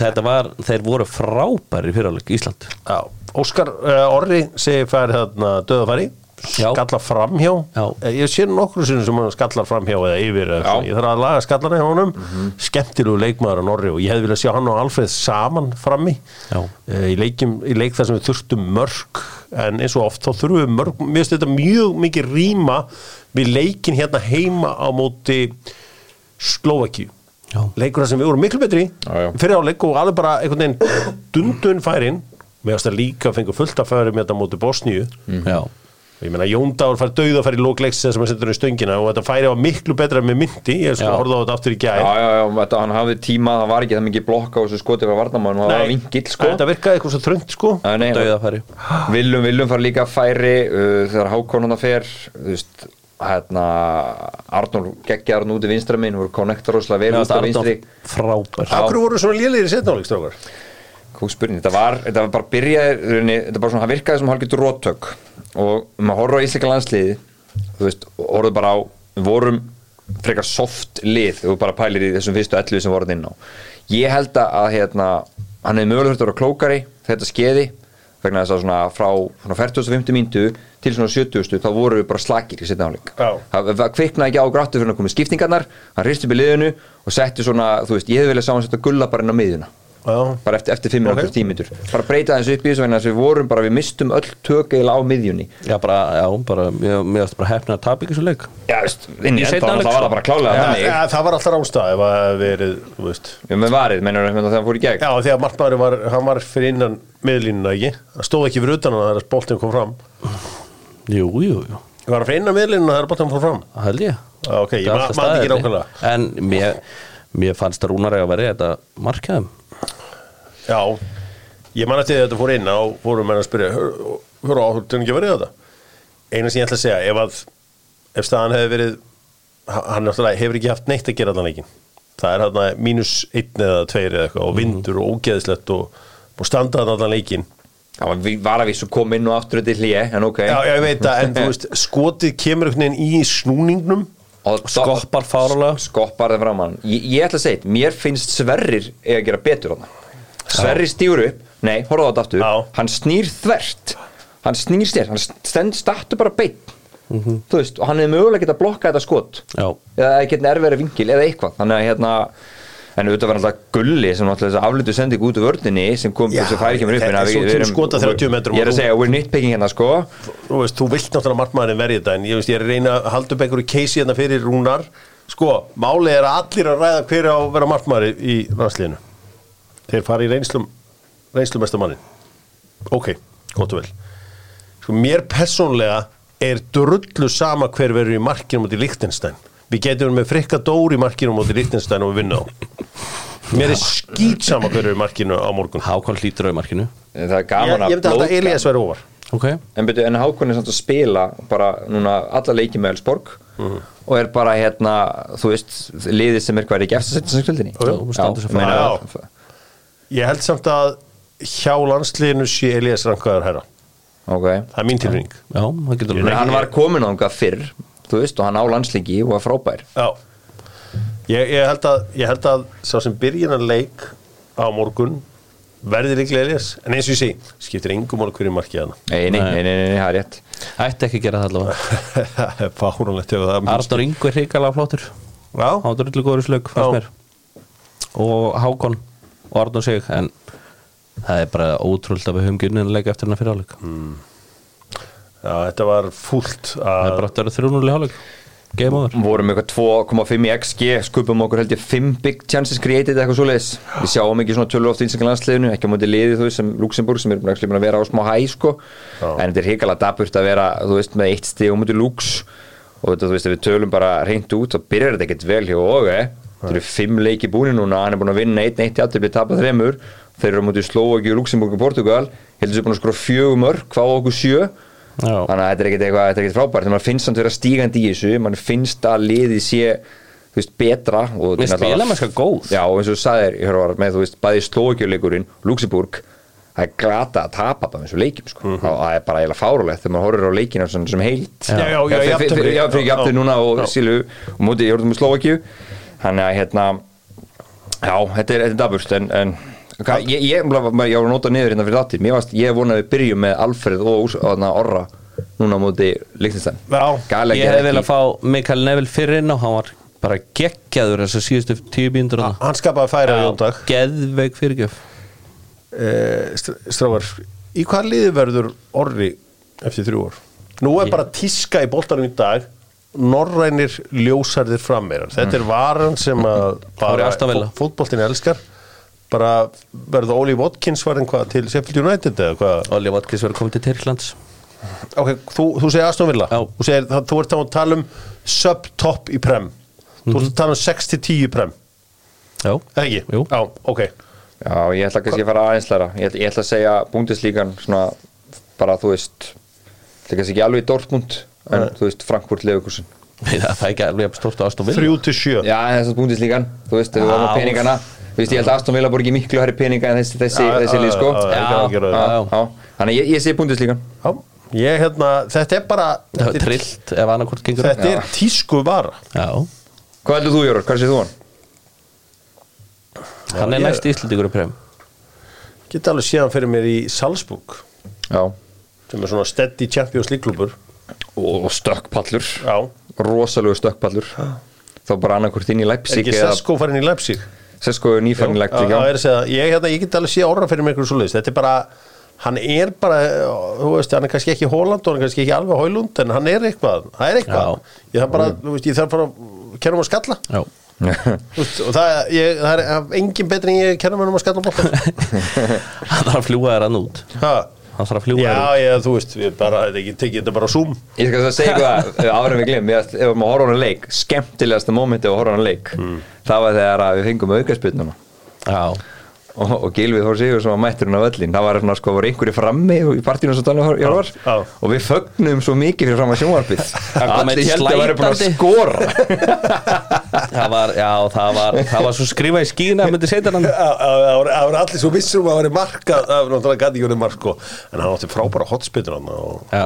Þetta var, þeir voru frábæri fyrirháleik Ísland Já, Óskar uh, Orri segir færi þarna döðafæri Já. skalla framhjá Já. Eh, ég sé nokkru sinni sem hann skallar framhjá eða yfir, eða Já. svona. ég þarf að laga skallarna hjá honum mm Mhm. skemmtilegu leikmaður hann Orri og ég hefði viljað sjá hann og Alfreð saman frammi Já. Eh, í, leikim, í leik þar sem við þurftum mörg en eins og oft þá þurfum við mörg mér finnst þetta mjög mikið rýma við leikin hérna heima á móti Slovakíu Já. leikur það sem við vorum miklu betri Já, já. fyrir áleik og alveg bara einhvern veginn dundun færin með ást að líka fengur fullt að færi með þetta móti Bosníu Já, ég meina Jóndáður fær dauða fær í lókleiks sem að setja hann í stöngina og þetta færi var miklu betra með myndi, ég er svona Já. að horfa á þetta aftur í gær Já, já, já, þetta, hann hafði tíma, það var ekki það mikið blokk á þessu skoti frá varnamann og það var vingill sko þetta virkaði eitthvað svo þröngt sko Nei, nei, dauðafæri Viljum, viljum fara líka færi uh, þegar Hákon hann að fer þú veist, hérna Arnór geggja Arnór út í vinstra minn voru konnektar rosalega Mér vel út varst á vinstri Arnór frábær Akkur voru svona lélegir í setnáleik strákar Kók spurning, þetta var, þetta var bara byrjaði raunni, þetta bara svona, það virkaði sem hálfgetur róttök og um maður horfður á íslika landsliði þú veist, horfður bara á við vorum frekar soft lið og bara pælir í þessum fyrstu 11 sem voruð inn á ég held að hérna, hann hefði mögulega þurft að vera klókari þetta skeiði vegna þess að svona frá svona 40-50 míntu til svona 70 þá voru við bara slakir í setna hálfleik Já. það það kviknaði ekki á grættu fyrir hann komið skiptingarnar hann hristi upp í liðinu og setti svona þú veist, ég hefði viljað sá hann setja gulla bara inn á miðjuna Já. bara eftir, eftir 5 minútur, Ok. 10 minútur bara breyta þessu upp í þessu vegna þess að við vorum bara við mistum öll tök eða á miðjunni Já, bara, já, bara, mér mér varst bara hefna að tapa ekki svo leik já, veist, inn Í í enda seinna var leik, það var það bara klálega Ja, þannig ja. ja, það var alltaf rámstað ef að verið, þú veist með varið, mennur það þegar hann fór í gegn Já, því að markmaður var, hann var fyrir innan miðlínuna ekki, hann stóð ekki fyrir utan hann þegar boltin kom fram Jú, jú, jú, Var hann fyrir innan miðlínuna þegar boltin kom fram? það held ég Já, Ah, ok, ég Það er ma- alltaf man ekki staðið, nákvæmlega. En mér, mér fannst að Rúnar eiga að vera í þetta markaðum Já, ég man eftir því að þetta fór inn á voru menn að spyrja, hör á, þú tennir ekki að verið þetta Eina sem ég ætla að segja, ef að ef staðan hefði verið hann hann náttúrulega hefur ekki haft neitt að gera allan leikin það er hann mínus einn eða tveir eða eitthvað og vindur og ógeðslegt og, og standa þarna allan leikin það var, var að vissu kom inn og aftur þetta í hlýja en ok, Já, já, ég veit það, en þú veist, skotið kemur einhvern veginn í snúningnum og Skoppar fárulega skoppar það fram hann ég, ég ætla að segja, eitt, mér finnst Sverrir eiga að gera betur hann Sverrir stýr upp, nei, horfðu á þetta aftur Já. hann snýr þvert hann snýr sér, hann stend startu bara beitt þú veist, og hann hefði mögulega geta blokkað þetta skot Já. eða geta erfæri vingil eða eitthvað þannig að hérna En auðvitað var alltaf gulli sem alltaf þess að aflutu sendi út úr vörninni sem kom Já, þessu færi kemur upp þetta en er að svo við- til við erum- skota 30 metrum Ég er og að þú- segja, we're nitpicking hérna sko þú veist, þú vilt náttúrulega markmaðurinn verið þetta en ég veist, ég er að reyna að halda upp einhverju keisi hérna fyrir rúnar, sko, málið er að allir að ræða hver á að vera markmaður í landsliðinu þeir fara í reynslum reynslumesta mannin ok, gott og vel sko, mér persónlega er drullu sama hver verður í markinum út í Lichtenstein við getum með frikka dór í markinum út í Lichtenstein og við vinna á mér er skýt sama hver verður í markinu á morgun Hákon hlýtur á í markinu Það er ég, gaman ég myndi alltaf blóðga- Elias verður óvar Ok En, byrju, en Hákon er samt að spila bara núna alla leiki með Elsborg Mhm. og er bara hérna, þú veist liðið sem er hvað er ekki eftir setjum skuldinni Jú, jú, hún stendur sig fram. Ég held samt að hjá landsliðinu sé Elias rankaður herra. ok Það er mín tilfinning. Já, það getur en alveg hann var komin á einhvað fyrr þú veist, og hann á landsleiki og var frábær Já. Ég, ég, held að, ég held að sá sem byrjunar leik á morgun verði líklega Elias. En eins og ég sé, skiptir engum mál hverju markið hana. nei, nei, nei, nei, nei, nei, það er rétt Ætti ekki að gera það allavega það er fárunlegt ef það er Arnur Ingu er hrikalega flottur Hann Já, var drullu góður í slögg, fannst Já. mér Og Hákon og Arnur sig En það er bara ótrúld að við höfum gynninleika eftir hennar fyrir áleik Mm. já, þetta var fúlt Það er að... bara að vera 3-0 í áleik Game over vorum eitthvað 2,5 í XG skupum okkur held ég 5 big chances created eða eitthvað svoleiðis við sjáum ekki svona tölur oft í íslenska landsliðinu ekki á móti liði þú veist sem Luxemburg sem er actually búin að vera á smá hæ sko en þetta er hikalega daburt að vera þú veist með eitt stig á móti Lux og þetta þú veist ef við tölum bara reynd út þá byrjar þetta ekkert vel hjá og þetta eru 5 leiki búinu núna hann er búin að vinna 1-1 í aftur tapað þremur þeir eru á móti Slovaki, Luxemburg og Portugal heldur þessu búin að skora fjögur mörg hvað okkur sjö Já. þannig að þetta er ekkert eitthvað þetta er ekkert frábært, þannig að mann finnst samt vera stígandi í þessu mann finnst að liðið sé þú veist, betra og Mér spilamennska góð. já, og eins og þú sagðir, ég hörðu var með þú veist, bæði slókjuleikurinn, Luxemburg það er glata að tapa bara eins og leikjum sko. mm það er bara eiginlega fárulegt þegar maður horfir á leikina sem, sem heilt Mhm. Já, já, já, fyrir- fyrir- jafntefli. já, fyrir Já, jafnir já. núna og Já. sílu og mótið, ég horfði með Slóakju þannig að hérna já, þetta er, þetta er daburt en, en hvað, ég, ég, ég, ég var að nota niður hérna fyrir þáttir, mér varst, ég vona að við byrjum með Alfred og Úrs- og þarna Orra núna móti Líktinstæn Já. Ég hefði vel að fá Mikael Neville fyrir inn og hann var bara geggjaður þessar síðustu tíu bíndur Hann skapaði færi á jóndag. Geðveik fyrirgjöf Eh, str- stráfar, í hvað liði verður orri eftir þrjú ár? Nú er bara tíska í boltanum í dag norrænir ljósarðir frammeirar þetta er varan sem að er í bara Aston Villa. fótboltin elskar bara verða Oli Watkins var hvað til Sheffield United eða hvað Olli Vatkins verið komið til Tyrklands ok, þú, þú segir Aston Villa Já. þú, segir, það, þú ert þá að tala um sub-top í prem þú ert að tala um 6-10 í prem Já, eða ekki? Mhm. Jú. Já, ok Já, ég ætla kannski að fara aðeins læra ég ætla, ég ætla að segja búndislíkan svona bara þú veist það er kannski ekki alveg í Dortmund en þú veist Frankfurt Lefukursen það er ekki alveg stort á Aston Villa 3-7 Já, en þess að búndislíkan, þú veist, ef við varum á Já. peningana þú veist, ég held að Aston Villa borgi miklu herri peninga en þessi, þessi, Já, þessi já, lið sko já, já, já, já, já, já. já. Þannig að ég, ég segi búndislíkan Já, ég hérna, þetta er bara Það er þetta er- trillt ef annarkvort gengur upp. þetta er tísku vara Já, Hvað heldur þú, Jörgur? Hvað séð þú hann? hann er ég- næst íslendingur í prem geta alveg séðan fyrir mér í Salzburg Já, sem er svona steady Champions League klubur og stökkpallur Já. Rosalegu stökkpallur Þá bara annarkvort inn í er Leipzig ekki eða Sesko farin í Leipzig Sesko er nýfarinn í Leipzig, Já, það já er að segja, ég, hérna, ég get alveg séð orra fyrir mér einhverjum svoleiðis, þetta er bara hann er bara, þú veist, hann er kannski ekki Hóland og hann er kannski ekki alveg Hólund en hann er eitthvað, það er eitthvað ég þarf bara, Mm. þú veist, ég þarf bara að kenna um að skalla Já, Þú veist, og það, ég, það er engin betri en ég kenna um að skalla bóttan hann þarf að fljúga þér hann út Hann þarf að fljúga Já, þér út ég, þú veist, við bara, ég tekið þetta bara á Zoom Ég skal það segja eitthvað áður en við glim Ef ef maður horfa á hann leik, skemmtilegasta momenti að horfa á hann leik Hmm. Það var þegar að við fengum aukaspyrnuna Já, og, og Gilvið Þór Sigur sem var mætturinn á öllin það var svona sko, voru einhverju frammi í partínu sem Danni Hjálfar var já. og við fögnum svo mikið fyrir fram að sjónvarpið Það kom allir einn heldur að vera búin að slætandi. skora það var, já, það var, það var svo skrifað í skína myndi setja hann Já, já, Það voru- það voru allir svo vissum að það var marka Það var náttúrulega gæti Jóni Marko sko. En hann átti frábæra hotspitur hann og Já,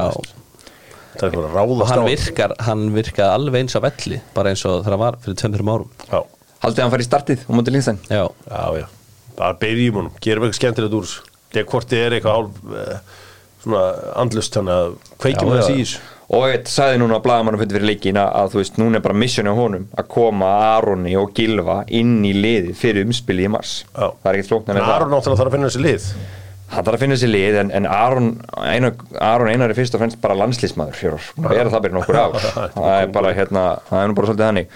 það er ekki verið að ráðast og hann á virkar, hann virkar alveg eins á velli bara eins og það var fyrir 2-3 árum Já, Haldið hann farið í startið og mútið linsan Já, já, já Bara byrjum honum, gerum eitthvað skemmtilegt úr þessu. Þegar hvort þið er eitthvað hálf eh, Svona andlust hann að kveikjum Já, þess já, í já. þessu og ég sagði núna að blaðamannum fyrir fyrir leikin að, að þú veist, núna er bara missionið á honum að koma Aroni og Gilva inn í liðið fyrir umspilið í mars Já. það er ekkert flóknar En með það Aron náttúrulega þarf að finna þessi lið Það þarf að finna sér lið en, en Aron, Einar, Aron Einar er fyrst og fremst bara landslýsmaður fjórar og er það bara í nokkur ár það er bara hérna, það er nú bara svolítið þannig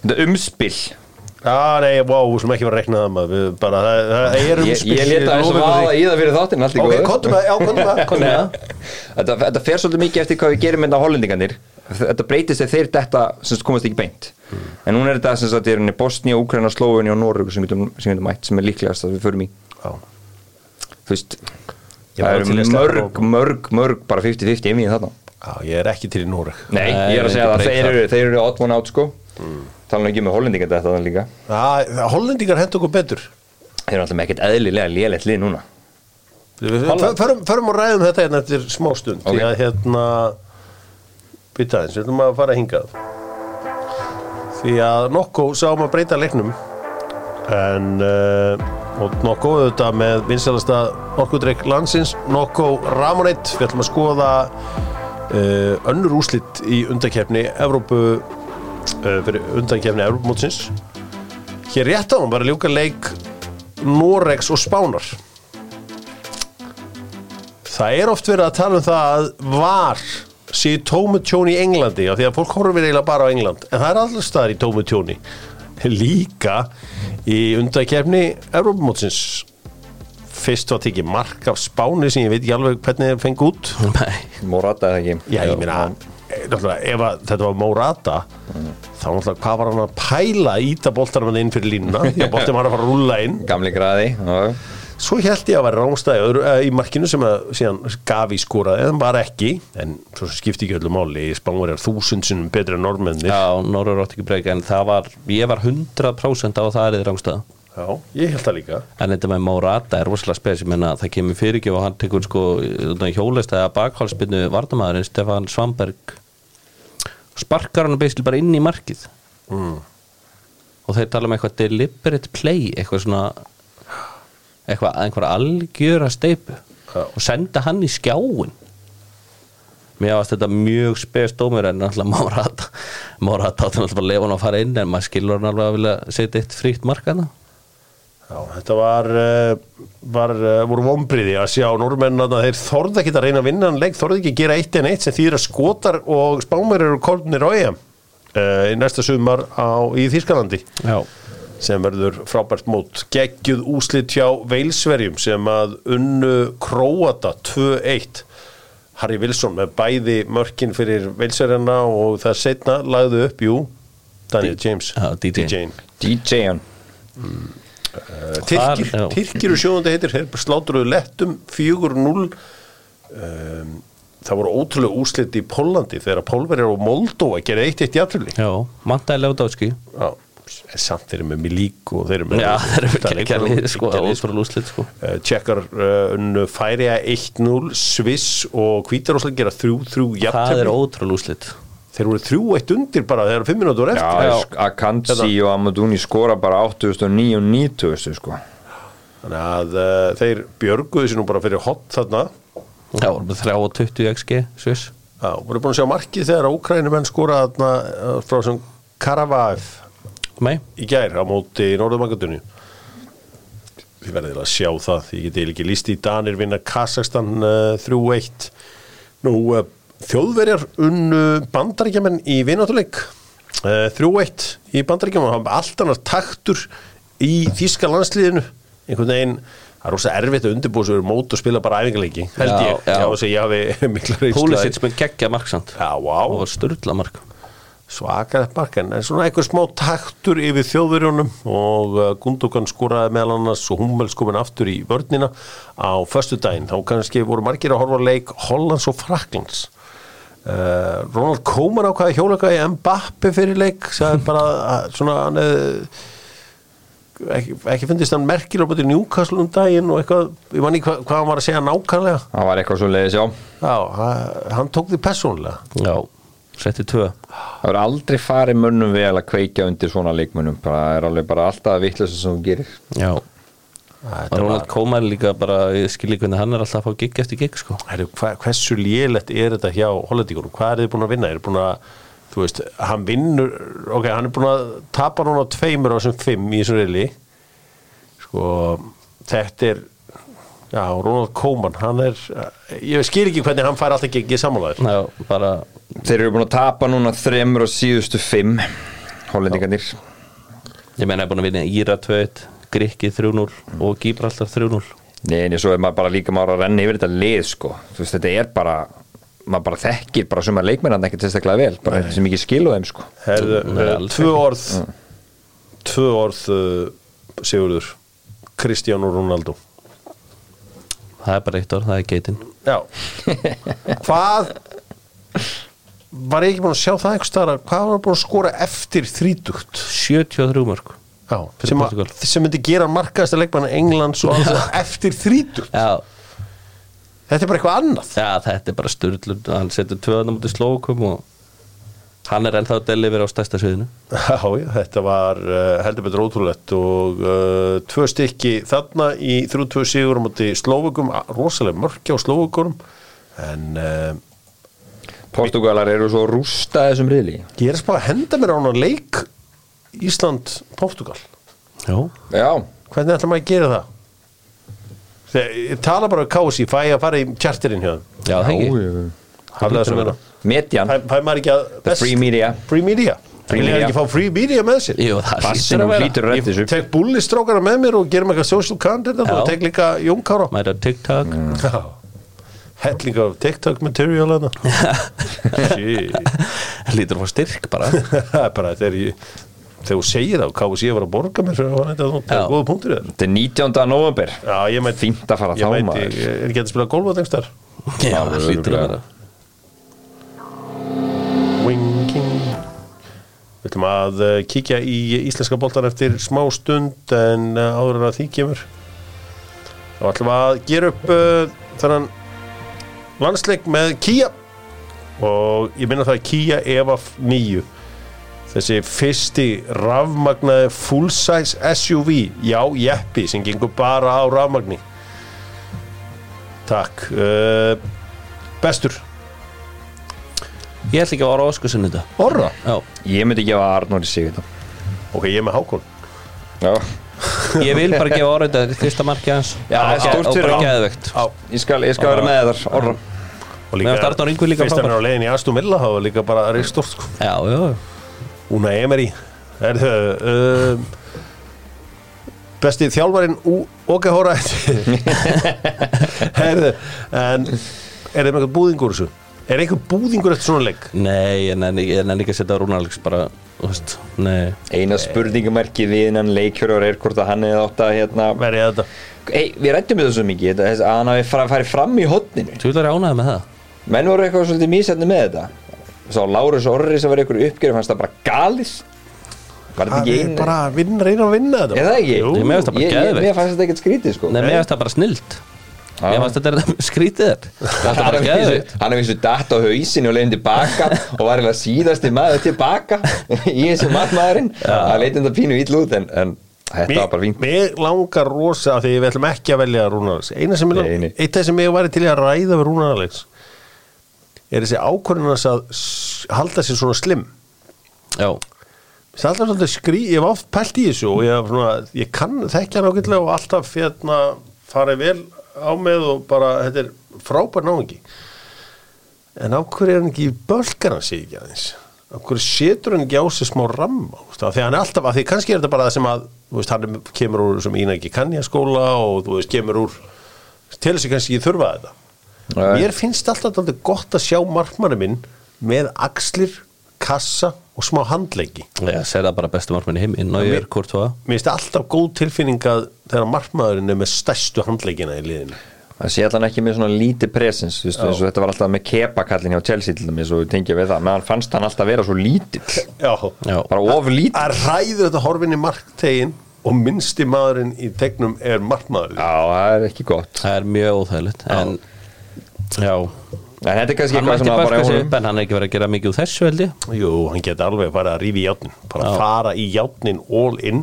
Þetta umspil Já, nei, vá, wow, sem ekki var að rekna það maður Við bara, það, það er um Ég, ég leta þess að vaða í það fyrir þáttinn allt í Ok, góðu. kontum að, já, kontum að Nei. þetta, þetta fer svolítið mikið eftir hvað við gerum með hollendingarnir Þetta breytist þegar þeir þetta sem sagt, komast ekki beint En núna er þetta sem sagt, er Bosnia, Ukraina, Slóveni og Norrug sem getum, sem getum mætt sem er líklegast að við förum í Já. Þú veist, Ég það var til eru að sleppa mörg, mörg, mörg bara 50-50 inn í þarna Já, ég er ekki til í Núrek Nei, Nei, ég er ég að segja myndi að breyta. þeir eru, þeir eru odd one out sko tala nú ekki með hollendingar þetta þannig líka Hollendingar hendur okkur betur þeir eru alltaf með ekkert eðlilega lélegt lið núna F- Förum förum og ræðum þetta hérna eftir smástund Ok. Því að hérna Býta aðeins, við ætlum að fara hingað Því að Nokko sáum að breyta leiknum En uh, Og Nokko auðvitað með vinsælasta Nokkudrykk landsins Nokko Ramonit, við ætlum að skoða uh, Önnur úslit Í undakefni Evrópu uh, Fyrir undakefni Evrópumótsins Hér rétt á hann var að ljúka leik Noregs og Spánar Það er oft verið að tala um það að var sé tómutjón í Englandi af því að fólk horfir eiginlega bara á England en það er allir staðar í tómutjóni líka í undakefni Evrópumótsins fyrst var tekið mark af Spáni sem ég veit ekki alveg hvernig þeir fengi út nei, Morata eða ekki Já, ég meina, eh, náttúrulega, ef að þetta var Morata, þá náttúrulega, hvað var hann að pæla að íta boltanum hann inn fyrir línuna, því að boltanum var að fara að rúlla inn. gamli graði já. Svo held ég að vera rángstæði öðru, eh, í markinu sem að síðan Gavi skoraði, en var ekki, en svo sem skipti ekki öllu máli, Spánverjar þúsund sinnum betri en normennir. já, Norrur átti ekki breyka en það var, ég var 100% á að það er í rángstæða Já, ég held það líka. en þetta með Morata er rosalega spes ég menna það kemur fyrir ekki og hann tekur sko hjólest eða bakhálsbyrnu vartamæðurinn Stefan Svamberg sparkar hann beisli bara inn í markið og þeir tala um eitthvað deliberate play eitthvað svona eitthvað einhver algjöra steipu Já. og senda hann í skjáin mér varst þetta mjög spes dómur en náttúrulega Morata Morata átti náttúrulega bara að lefa hann að fara inn en maður skilur hann alveg að vilja setja eitt fríkt markana Já, þetta var, uh, var uh, voru vombriði að sjá normenn að þeir þorði ekki að reyna að vinna hann leik, þorði ekki að gera eitt en eitt sem þýðir að skotar og spámur eru kornir á EM uh, í næsta sumar á, í Þýskalandi Já, sem verður frábært mót geggjuð úslit hjá Veilsverjum sem að unnu Króata 2-1 Harry Wilson með bæði mörkin fyrir Veilsverjana og það setna lagðu upp, jú, Daniel James Eh, Já, DJ. DJ-un Tyrkir, Þar, já. Tyrkir og sjóðandi heitir þeir slátruðu lettum 4-0 um, það voru ótrúlega úslit í Pólandi þegar Pólverjar og Moldóa gerði eitt eitt játturli já, mantaði Lewandowski samt þeir eru með Milík og þeir eru með Já, það er Það ekki að lið, sko, geggjað lið, sko. ótrúlega úslit, sko Eh, Tjekkar uh, unnu færiða 1-0 Sviss og Hvítarúsland gera 3-3 Það er játturli ótrúlega úslit þeir voru 3-1 undir bara þegar 5 minútur voru eftir Já, Akansi og Amaduni skora bara 8.990 og 90 sko. þannig að uh, þeir björguðu sér nú bara fyrir hot þarna Já, vorum við 3 og 20 XG, sviss Já, voru búin að sjá markið þegar Ókrænumenn skora þarna eh, frá sem Karavaev Nei, í gær á móti í Norðumakandunni Þið verðið að sjá það ég geti eiginlega ekki líst í Danir vinna Kazakstan uh, 3-1 Nú, uh, þjóðverjar unnu bandaríkjamenn í vinatuleik uh, 3-1 í bandaríkjamenn hafa allt annar taktur í þýska landsliðinu einhvern veginn Það er rosa erfitt að undirbúið svo eru mót og spila bara æfingarleiki, held Já, ég. já. Já, þess að ég hafi mikla reynsla. Púlisits með geggja marksand Já, vá. Það var störla mark svakalegt mark en en svona einhver smá taktur yfir þjóðverjónum og uh, Gundogan skoraði meðal annars og Hummels komin aftur í vörnina á föstudaginn þá kannski voru margir að horfa á leik Hollands og Fraklands uh, Ronald Koeman ákvaði hjólaga í Mbappi fyrir leik sagði bara að svona hann hefði ekki, ekki fundist hann merkir á bæti Newcastle um daginn og eitthvað, ég manni hva, hvað hann var að segja nákvæmlega Það var eitthvað svo leiðis, já já, hann- hann tók því persónulega Já, setti 2 Það verður aldrei farið mönnum vel að kveikja undir svona leikmönnum bara, Það er alveg bara alltaf að vitlega sem þú gerir Já, Þetta Ronald Koeman líka bara Ég skil ekki hvernig hann er alltaf að fá gigg eftir gigg, sko Heru, hva, hversu lélegt er þetta hjá hollendingunum, hvað er þið búin að vinna er búin að, þú veist, hann vinnur ok, hann er búin að tapa núna tveimur á þessum fimm í þessum reyli sko, þetta er já, Ronald Koeman hann er, ég skil ekki hvernig hann fær alltaf ekki samanlæður Já, bara Þeir eru búin að tapa núna þremur á síðustu fimm Hollendingarnir Ég meina, ég er búin að vinna Íra 2-1 Grikki 3-0 og Gibraltar 3-0 Nei, en svo er maður bara líka maður að renna yfir þetta lið sko. Þú veist, þetta er bara maður bara þekkir bara sumar leikmennan ekkert sérstaklega vel, bara Nei. sem ekki skilu þeim sko. Herðu, Nei, eh, alls tvö orð tvö orð uh, Sigurður, Kristján og Ronaldo Það er bara eitt orð, það er geitin Já Hvað Var ég ekki búin að sjá það eitthvað stara Hvað var búin að skora eftir þrítugt 73 mörg Já, Fyrir sem, að, Portugal. sem myndi gera markaðasta leikmann Englands og alls það eftir þrítugt Já, Þetta er bara eitthvað annað já þetta er bara styrlur Hann setur 2-1 á mútið slókum og Hann er ennþá að delivera á stærsta sviðinu Já, já, þetta var uh, heldur betur ótrúlegt og uh, tvö stykki þarna í 32 sigur á móti slóvugum, rosalega mörkja á slóvugunum en uh, Portugalar eru svo rústa þessum riðli ég er að spá að henda mér á hana leik Ísland-Portugal Já, Já, hvernig ætla maður að gera það Þegar, ég tala bara um kási fæ ég að fara í tjartirinn hjá þeim já, það ekki hafði það sem hérna Median, fæ, fæ maður ekki að the free media free media Free free media media. ekki fá free media með sér Jú, það hlýtur að Bassin hún vera hlýtur rödd þessu ég tek bullistrókana með mér og gerum eitthvað social content Já. og tek líka jónkára Mæra TikTok Mm. Já. helling af TikTok material hana shit Lítur að fá styrk bara það er bara þegar ég þegar þú segir það kási ég var að borga mér fyrir að hafa þetta þú- það Já. er góða punktur í þér Þetta er 19. november já ég mæti Fínt að fara ég þá, mæti maður. ég er ekki hægt að spila golfa þengst þar Já, það hlýtur að vera Winking Við ætlum að uh, kíkja í íslenska boltan eftir smá stund en uh, áður en að því kemur þá ætlum við að gera upp uh, þannan landsleik með Kía og ég minna það að Kía Eva 9 þessi fyrsti rafmagnaði full-size SUV já, jeppi, sem gengur bara á rafmagni Takk uh, Bestur, Ég ætla ekki að ára óskursin þetta orra Já, hérna. Ég myndi gefa Arnóri sig þetta Ok, ég er með Hákon Já, Ég vil bara gefa orðið að fyrsta markið hans Já, það er Og- stórt og fyrir bara hann. geðveikt. Ég skal, ég skal vera með þar, orra og Mér fannst Arnór Ingvi líka fyrst hann frábær. er á leiðin í Astum Villa þá er líka bara reistort sko. Já, já, já. Una Emery er þau um, besti þjálfarin ok hóra Herðu, en er þeim eitthvað búðingur þessu? Er eitthvað búðingur eftir svona leik? Nei, ég nenni, ég nenni ekki að setja Rúnalegs bara, þú veist, nei Eina spurningumerki við innan leikjörur er hvort að hann hefði átt að hérna Verið þetta? Ei, Við rættum við þessu mikið, þetta, þess- að hann hafi fara- farið fram í hotninu Tjúlar ánaði með það Menn voru eitthvað svolítið mísætni með þetta Sá Lárus Orri sem var í einhverju uppgjöru fannst það bara galið Var þetta Það ekki er einu? bara að vinna, reyna að vinna þetta Er það ekki? Jú, Ég meðast það bara Ég, ég, geðveikt. mér fannst þetta ekkert skrítið sko Nei, mér finnst það bara snilt Mér finnst þetta er skrítið þér Það er Hann bara er geðvikt vissu- hann er vissu datt á hausinu og leiðin tilbaka og var eða síðasti maður tilbaka í þessu matmaðurinn að leitin það pínu ítl út en, en þetta var bara Mér, fínt mér langar rosa af því við ætlum ekki að velja Rúnar Alex eina sem Nei, ég, nei. eitt af sem ég væri til í að ræða við Rúnar Alex er þessi ákvörðin hans að s- halda sér svona slim Já, það er alltaf svolítið skrý, ég hef oft pælt í þessu og ég, hef svona, ég kann þekkja hann ágætlega og alltaf hérna farið vel á með og bara þetta er frábær náðingi en á hverju er hann ekki bölkar hann sig ekki aðeins á hverju setur hann ekki á sig smá ramma þú veist, af því að hann er alltaf, af því kannski er þetta bara það sem að þú veist, hann er- kemur úr sem ína ekki kann skóla og þú veist, kemur úr til þess að kannski ekki þurfa þetta Nei. mér finnst alltaf alltaf gott að sjá markmanni minn með axlir, kassa og smá handleggi ég segir það bara bestu markminn í heim Inn og ég er hvort það mér finnst alltaf góð tilfinning að þegar markmaðurinn er með stærstu handleggina í liðinu það sé allan ekki með svona lítið presens þú veist, eins og þetta var alltaf með kepakallin hjá Chelsea til dæmis og tengja við það, meðan fannst hann alltaf vera svo lítill já, Já, bara of lítill að ræður þetta horfinni marktegin og minnsti maðurinn í tegnum er markmaðurinn Já, það er ekki gott það er mjög óþægilegt En, já En þetta er kannski Hann eitthvað mætti svona bara börka sig honum upp en hann er ekki verið að gera mikið úr þessu held ég Jú, hann geti alveg bara að rífi í játnin bara Já. fara í játnin all in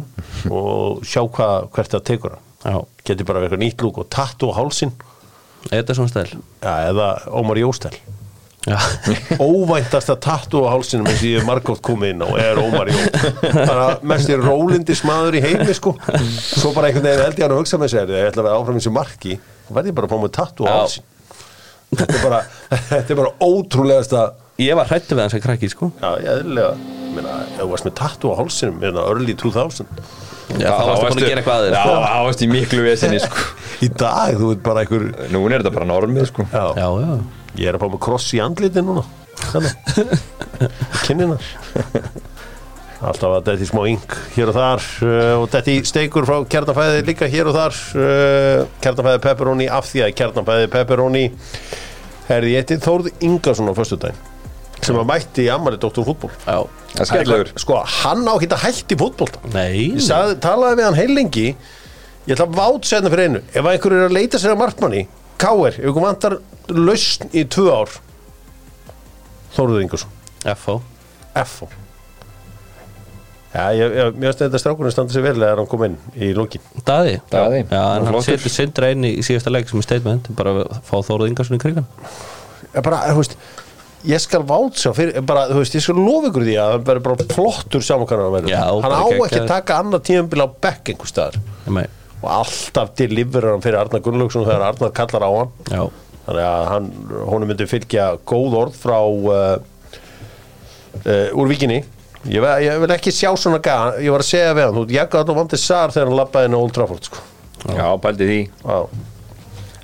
og sjá hva, hvert það tekur hann Já, geti bara verið eitthvað nýtt lúk og tattu á hálsin þetta er svona stæl ja, eða Ómar Jóstel Já, óvæntasta tattu á hálsinum eins og ég hef margótt komið inn á er Ómar Jó bara mest er rólindis maður í heimi sko svo bara einhvern veginn held ég hann að hugsa með sér ég ætla að vera áfram eins og marki þá verð ég bara að fá með tattu á Já. hálsin þetta er bara, þetta er bara ótrúlegasta ég var hrættu við hans að krakki sko já, ég eðlilega ég meina, ef þú varst með tattu á hálsinum meina, early 2000 Já, þá varstu búin að gera eitthvað Já, aðeins þá varstu í miklu vesinni sko í dag, þú veit bara einhver Núna er þetta bara normið sko já, Já, já, ég er að fá með kross í andliti núna þannig kynnina alltaf að detti smá yng hér og þar uh, og detti steikur frá kjarnafæði líka hér og þar uh, kjarnafæði pepperoni af því að kjarnafæði pepperoni herði ég til Þórð Ingarsson á föstudaginn sem að mætti í ammali Dóttur fútból já Það er skellur sko hann á ekki að hætti fútból Nei, ég sað, talaði við hann heilengi ég ætla að vát segna fyrir einu ef einhver er að leita sér að markmanni K.R. ef einhver vantar lausn í tvö ár Þóruður Ingersson F.O. F.O. Já, ég, ég, mér finnst þetta strákunum standa sér vel þegar hann kom inn í lókin Daði Daði. Já, en hann Flottur. setur sindra inn í í síðasta leik sem er statement bara að fá Þórað Ingarsson í krigan ég bara, þú veist ég skal vátsa fyrir, bara, þú veist, ég skal lofa ykkur því að hann verður bara flottur samankannar hann Já, verður. hann bara á ekki geggjaður. að taka annað tíðanbíl á bekk einhver staðar Nei, og alltaf til lífverður hann fyrir Arnar Gunnlaugsson þegar Arnar kallar á hann já, þannig að hann, honum myndi fylgja góð orð frá uh, uh, úr vikinni ég, ve- ég vil ekki sjá svona gæða ég var að segja við hann, þú veist, ég gæði vandi sar þegar hann labbaði inn á Old Trafford sko. Já, pældi því Já.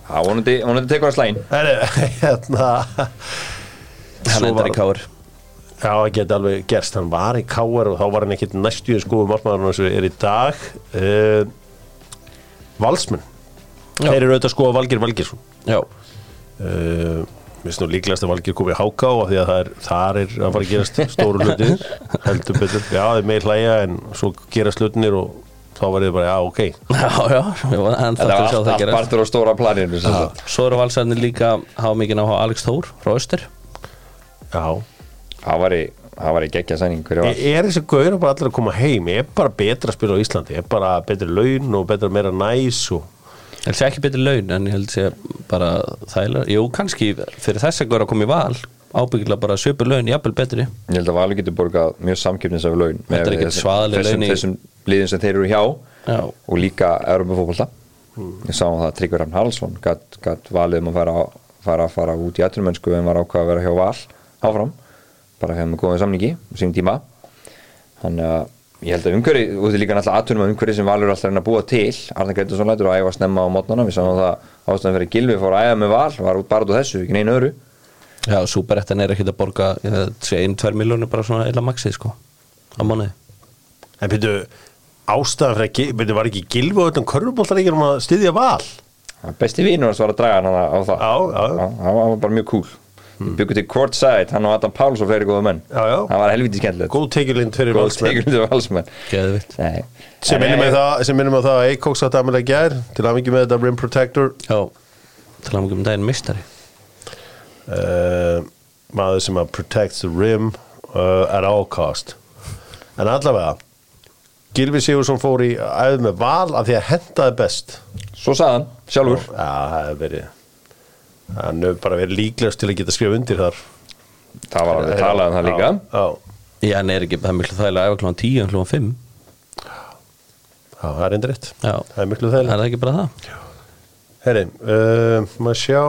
Já, vonandi, vonandi tekur það slægin Herri, hérna hann svo endar var- í káur Já, það geti alveg gerst, hann var í káar og þá var hann ekkit næstu í skoðu margmaðurinn eins og er í dag uh, Valsmenn Þeir eru auðvitað sko að Valgir Valgirsson Já, uh, Mér snú líklegast að Valgir komið háká af því að það er, þar er að fara að gerast stóru hlutir heldur betur, já þið meir hlæja en svo gerast hlutinir og þá var ég bara, já ok já, já, já, hann Þetta þarf að var sjá allt, það allt gerast partur á stóra planinu sem sagt. Svo eru valsarnir líka hafa mikið náha Alex Þór frá Öster já. E- Það var í, það var í geggja sæning Hverju var? Er, er þessi gauður bara allir að koma heim er bara betra að spila á Íslandi er bara betri laun og betra meira næs og Ég held sé ekki betur laun en ég held sé bara þægilega Jú, kannski fyrir þess að góra að koma í val ábyggilega bara söpur laun, jafnvel betri Ég held að Valur getur borgað mjög samkipnisafi laun Þetta er ekkert svaðaleg laun í- Þessum, þessum liðin sem þeir eru hjá Já. Hmm. og líka Europafókbalta ég sá það að Tryggvi Rafn Haraldsson gatt gat valið um að fara, á- fara, fara út í atrumönsku en var ákvað að vera hjá Val áfram, bara hefði með góðum samningi og sín tíma þannig að ég held að umhverfi, og þetta er líka náttúrulega atunum að umhverfi sem Valur er alltaf að reyna að búa til Arne Greitarsson lætur að æfa snemma á mótnana við sáum það ástæðan fyrir að Gilvi fór að æfa með Val var út bara út á þessu, ekki neina öru Já, súperettan er ekkert að borga 1-2 miljónir bara svona eila maxið sko á mánuði En byrju, ástæðan fyrir að Gil- byrju, var ekki gilfu öllum körfubóltaríkjum að styðja val? besti vinur hans var að draga hann á á það Já, já. hann var bara mjög cool mm. byggur til Courtside, hann og Adam Páls og fleiri góða menn Hmm. Já, já. hann var helviti skemmtilegt Góð tekjulind fyrir góð valsmenn. tegur til valsmenn Geðvitt Nei. eh, Sem minnum við það, sem minnum við það að Eikóks átti afmæli í gær til að mikið með þetta Rim Protector Já, tala um ekki um daginn mistari uh, maður sem að protects the rim uh, at all cost en allavega Gilvi Sigursson fór í æðu með val af því að hendaði best svo sagði hann, sjálfur Já, það hefur verið hann hefur bara verið líklegast til að geta skrifa undir þar það var alveg talað um það líka Já, Já, en er ekki, það er miklu þægilega að æfa klón 10 en klón 5 já, já það er endur rétt Já, Það er miklu þegar það er ekki bara það Herri, uh, maður sjá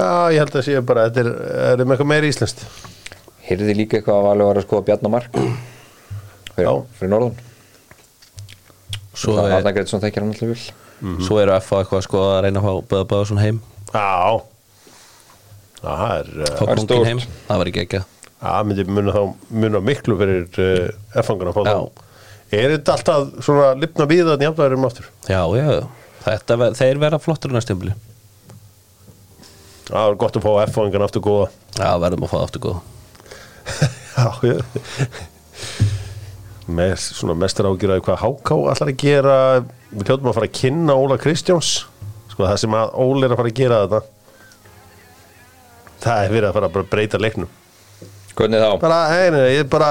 Já, ég held að sé bara þetta er, er um eitthvað meira íslenskt heyrði líka eitthvað að Valur var að skoða Bjarnamark fyrir, Já. fyrir norðan Svo, er, það Mhm. Arna Greitsson þekkir hann alltaf vil svo eru FA eitthvað sko að reyna að fá Böða Böðarsson heim Já Það er uh, Fá Það er kongin stórt. heim, það var ekki ekki Já, myndi muna þá muna miklu fyrir uh, erfangana að fá Já. þá Er þetta alltaf svona lipna við þannig jafnvæðurum um aftur? Já, já, þetta, ver- þeir verða flottur næstumli Já, það er gott að fá erfangana aftur góða Já, verðum að fá það aftur góð Já, ég Með svona mestar ágjur að hvað Háká allar að gera Við hljóttum að fara að kynna Óla Kristjáns Sko það sem að Óli er að fara að gera þetta Það er verið að fara bara að breyta leiknum hvernig þá, Bara, hei, nei, ég bara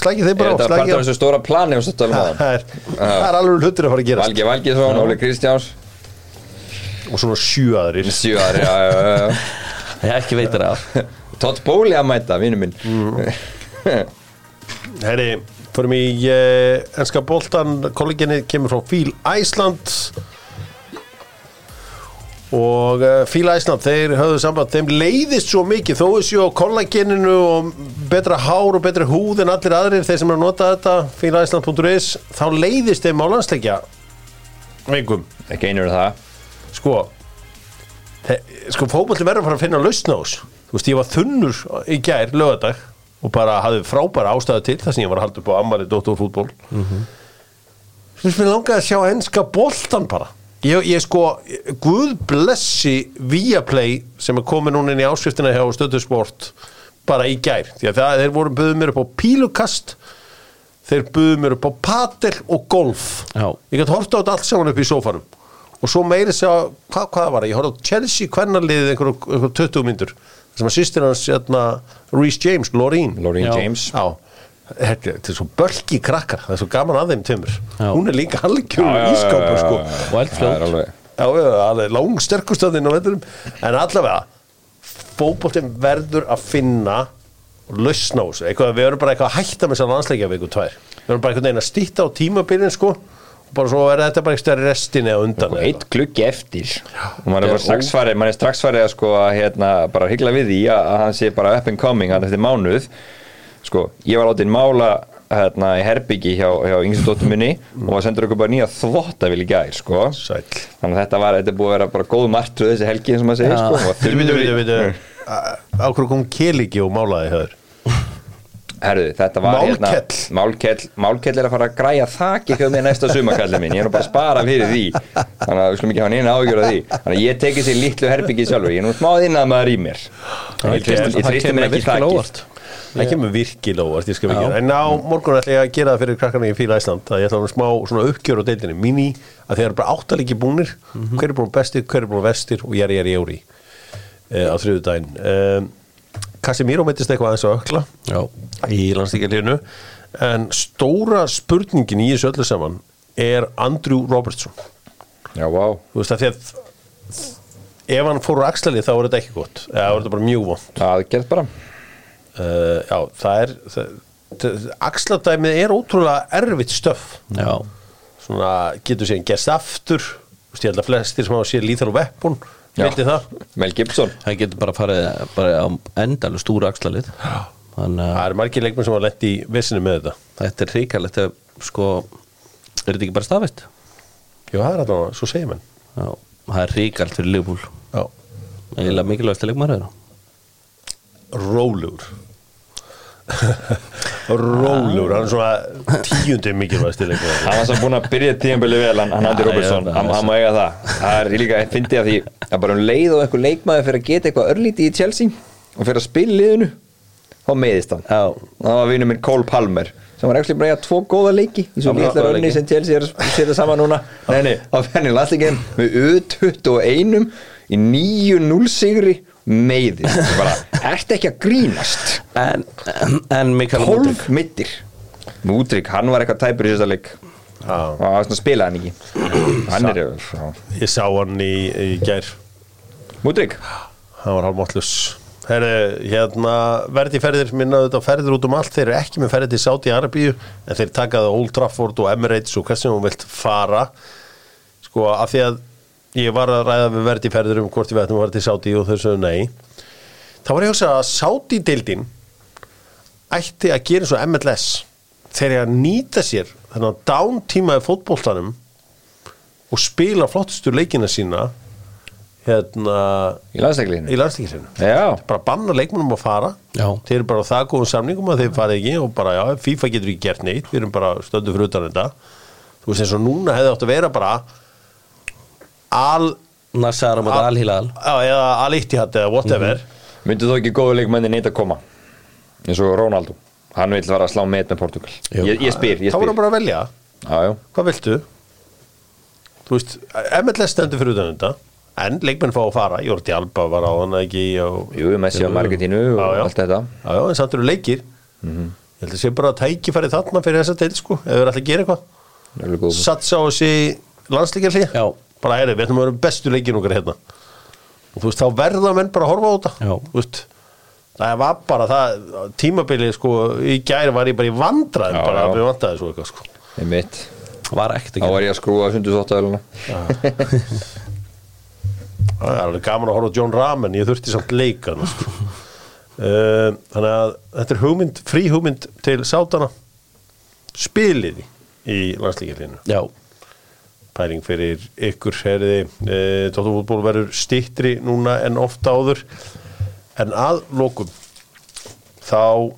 Slækið þeim er bara þetta slakið part af þessu stóra plani og stöttalum á Það er, það er alveg hlutur að fara að gera Valgi Valgiðsson, Óli Kristjáns Og svona sjö aðrir sjöar, já, já, já, já Ég ekki veitir af Todd Bóli að mæta, vinnu minn Mm. Herri, förum í uh, enska boltan, kolleginni kemur frá Fíl Æsland og uh, Fíl Æsland, þeir höfðu samband þeim leiðist svo mikið, þó þessu á kollageninu og betra hár og betra húð en allir aðrir, þeir sem er að nota þetta fílæsland.is, þá leiðist þeim á landsleikja veikum, ekki einur það sko þe- sko fókballi verður að fara að finna lausna á þessu, þú veist, ég var þunnur í gær, lögadag, og bara hafði frábæra ástæðu til þar sem ég var að halda upp á ammali dóttórfútból mm -hmm. þú veist, mér langaði að sjá enska boltan bara ég, ég sko, guð blessi Viaplay sem er komið núna inn í áskriftina hjá Stöðusport bara í gær, því að það, þeir voru buðið mér upp á pílukast þeir buðið mér upp á patel og golf Já. ég gæti horta á þetta allt saman upp í sófanum og svo meiri sér að, hvað, hvað var það ég horfði á Chelsea kvennarliðið einhverjum einhver 20 myndur sem að sýstir hans hérna, Rhys James, Loreen Loreen Já. James Já, þetta þetta er svo bölki krakkar það er svo gaman að þeim tömur Já. hún er líka algjörn Já, já, já, ískápur já, sko já, já. Og eldfljót. Það er alveg- Já, já, alveg langsterkustöðin á vetturum en allavega fótboltinn verður að finna og lausna á þessu, eitthvað, við erum bara eitthvað að hætta með þess að landsleikja viku tvær við erum bara einhvern veginn að stýtta á tímabilin sko og bara svo er þetta bara eitthvað restinni á undan og eða eitt gluggi eftir og þetta maður er er bara strax farið, maður er strax farið að sko að hérna, bara hyggla við því að, að hann sé bara up and coming hann eftir mánuð sko, ég var látið mála hérna í herbyggi hjá, hjá yngstundóttum minni og var sendur okkur bara nýja þvottavíl í gær sko eitthvað. sæll þannig að þetta var, þetta er búið að vera bara góð martröð þessi helgi eins og maður segir Já. sko og Vitu, vitu, þurftur í- vitu, vitu Á hverju kom Keligi og málaði höður Herðu, þetta var Málkell. hérna Málkell Málkell er að falla að græja þak ekki með næsta sumakallið minn, ég er nú bara að spara fyrir því þannig að við skulum ekki hafa neina ágjör af því þannig að ég teki sér litlu herbyggi sjálfur ég er nú smáð inn að maður í mér Það ég treysti- ég það treysti kemur mér ekki í virkilega þakið óvart. Það kemur virkilega óvart, ég skal við Já. gera En á morgun ætla ég að gera það fyrir krakkarna í Fíla Ísland að ég ætla að hafa smá svona uppgjör á deildinni Mini, að þeir eru bara áttalíki búnir Hver er búin bestir, hver er búin vestir og ég er ég er í jóri eh, á þriðu daginn um, Casimiro meittist eitthvað aðeins á ökla Já, í landstíkjarlíðinu hérna. en stóra spurningin í þessu öllu saman er Andrew Robertson já, vá, Þú veist að því að ef hann fór úr axlalið þá er þetta ekki gott eða er þetta bara mjög vond það gerð bara uh, já, Eh, það er það, axladæmið er ótrúlega erfitt stöf já, svona getur síðan gerst aftur Þú veist, ég held að flestir sem á sér líþar og veppun vildi það Mel Gibson það getur bara farið bara á endalust úr axlalið þannig að það er margir leikmenn sem hafa lett í vesinu með þetta þetta er ríkalegt að sko, er þetta ekki bara stafist? já það er alltaf svo segir menn Já, það er ríkalt fyrir Liverpool já. eiginlega mikilvægast að leikmaður þeirra rólugur rólugur hann er svona tíundi mikilvægasti leikmenn hann var svo búin að byrja tíðanbili vel hann, hann Andy Já, Robertson, já, hann, já, hann má eiga það það er líka að fyndi að því að bara um leið og einhver leikmaður fyrir að geta eitthvað örlítið í Chelsea og fyrir að spila í liðinu þá meiðist hann Já. það var vinur minn Cole Palmer sem var ekki bara að eiga tvo góða leiki í svo Já, litla góða rönni leiki. sem Chelsea er að setja saman núna nei, nei, þá fyrir hann í landsleikin með U21 í 9-0 sigri meiðist bara, ertu ekki að grínast en, en, en Mikael 12 mittir Múdrik, hann var eitthvað tæpur í þessa leik Já. og það var svona að spila hann ekki hann er ég sá hann í, í gær Múdrik, hann var halvmáttlus Herri, hérna, verðiferðir minna þetta ferðir út um allt, þeir eru ekki með ferði til Saudi Arabíu, en þeir taka það á Old Trafford og Emirates og hversum hún vilt fara sko, af því að ég var að ræða við verðiferðir um hvort við ættum að fara til Saudi og þau sögðu nei þá var ég að hugsa að Saudi-deildin ætti að gera svo MLS þeir eru að nýta sér þennan dántíma í fótboltanum og spila flottustu leikina sína hérna í landsleiklinu í landslíkisinu Já, bara banna leikmennum að fara Já. þeir eru bara á það góðum samningum að þeir farið ekki og bara, já, FIFA getur ekki gert neitt við erum bara stöndu fyrir utan þetta þú veist eins og núna hefði átt að vera bara al Nassar á móti Ah. Al-Hilal já, eða al-Ittihad eða whatever myndu þó ekki góðu leikmenni neitt að koma eins og Ronaldo hann vil vera að slá með með Portugal Jú. ég, ég spyr, ég þá spyr voru bara að velja, já, já. hvað viltu þú veist, MLS stendur fyrir utan þetta en leikmenn fá að fara, Jordi Alba var á hann ekki og, Jú, Messi og Margetínu og Já, já. allt þetta Mhm. já, já, en samt eru leikir ég held að sé bara að tækifæri þarna fyrir þessa deil sko, ef við erum alltaf að gera eitthvað Það er alveg góð. satsa á þessi landslíkjarlið Já. bara heyrðu, við ætlum að vera bestu leikin okkar hérna og þú veist, þá verða menn bara að horfa á þetta Já. Þú veist, það var bara það tímabilið sko, í gæri var ég bara í vandræðum Já, bara já. að við vantaði svo eitthvað sko Einmitt. var ekkert þá ekki var ég að skrúa sundusóttavæluna það er alveg gaman að horfa á John Ramen ég þurfti samt leikan sko. uh, þannig að þetta er hugmynd, frí hugmynd til sátana spiliði í landslíkjarlinu já, pæling fyrir ykkur herði e, Tóttafútból verður stýttri núna en ofta áður en að lokum þá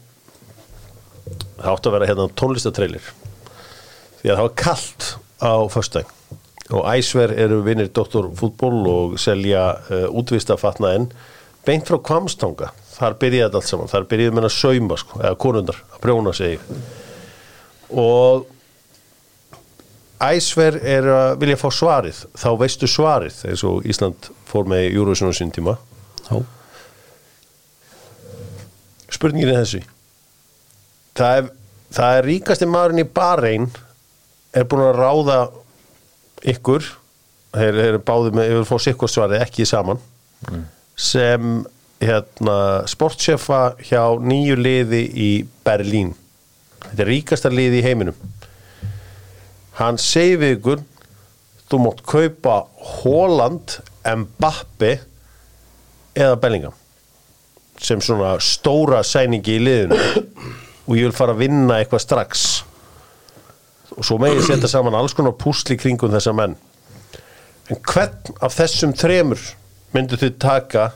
það átti að vera hérna tónlistatrailer því að það var kallt á föstudaginn og æsver eru vinnir Dr. Fútból og selja uh, útvista fatnaðinn beint frá Kvamstanga þar byrjaði þetta allt saman, þar byrjaði menn að sauma sko, eða konundar, að prjóna sig og Æsver er að vilja fá svarið þá veistu svarið eins og Ísland fór með Júruvísson á sín tíma já, spurningin er þessi það er, það er ríkasti maðurinn í Bahrein er búin að ráða ykkur þeir eru báði með yfir að fá sikkur svarið ekki saman sem hérna sportsefa hjá nýju liði í Berlín þetta er ríkasta liði í heiminum hann segir við ykkur þú mátt kaupa Holland, Mbappe eða Bellingham sem svona stóra sæningi í liðinu og ég vil fara að vinna eitthvað strax og svo með ég setja saman alls konar púsli kringum þessa menn en hvern af þessum þremur myndu þið taka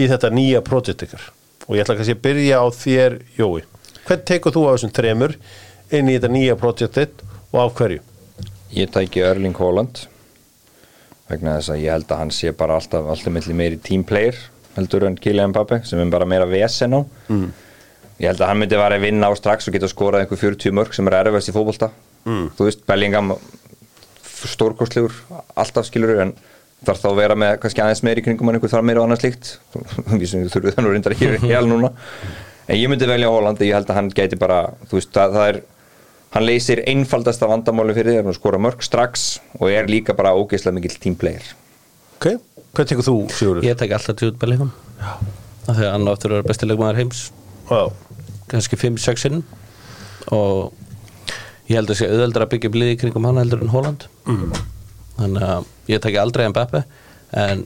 í þetta nýja projekt ykkur og ég ætla kannski að byrja á þér Jói, hvern tekur þú af þessum þremur inn í þetta nýja projektið og af hverju? Ég tæki Erling Haaland vegna þess að ég held að hann sé bara alltaf alltaf milli meiri team player heldur en Kylian Mbappe sem er bara meira vesen á mm. ég held að hann myndi vara að vinna á strax og geta skorað einhver 40 mörg sem er erfast í fótbolta mm. þú veist, Bellingham stórkostlegur, alltaf skilur en þarf þá að vera með kannski aðeins meiri í kringum en einhver þar meira og annað slíkt við sem við þurfum þannig reyndar ekki hel núna en ég myndi velja Haaland ég held að hann gæti bara, þú veist, það, það er hann leysir einfaldasta vandamáli fyrir þér hann skora mörg strax og er líka bara ógeðslega mikill tímplegir Ok, hvern tekur þú Sigurður? ég tek alltaf tjúð Bellingham af því að hann áttur að vera besti leikmaður heims Já, kannski 5-6 inn og ég held að sé auðveldar að byggja blíði kringum hann heldur en Holland þannig að ég takki aldrei en Beppe en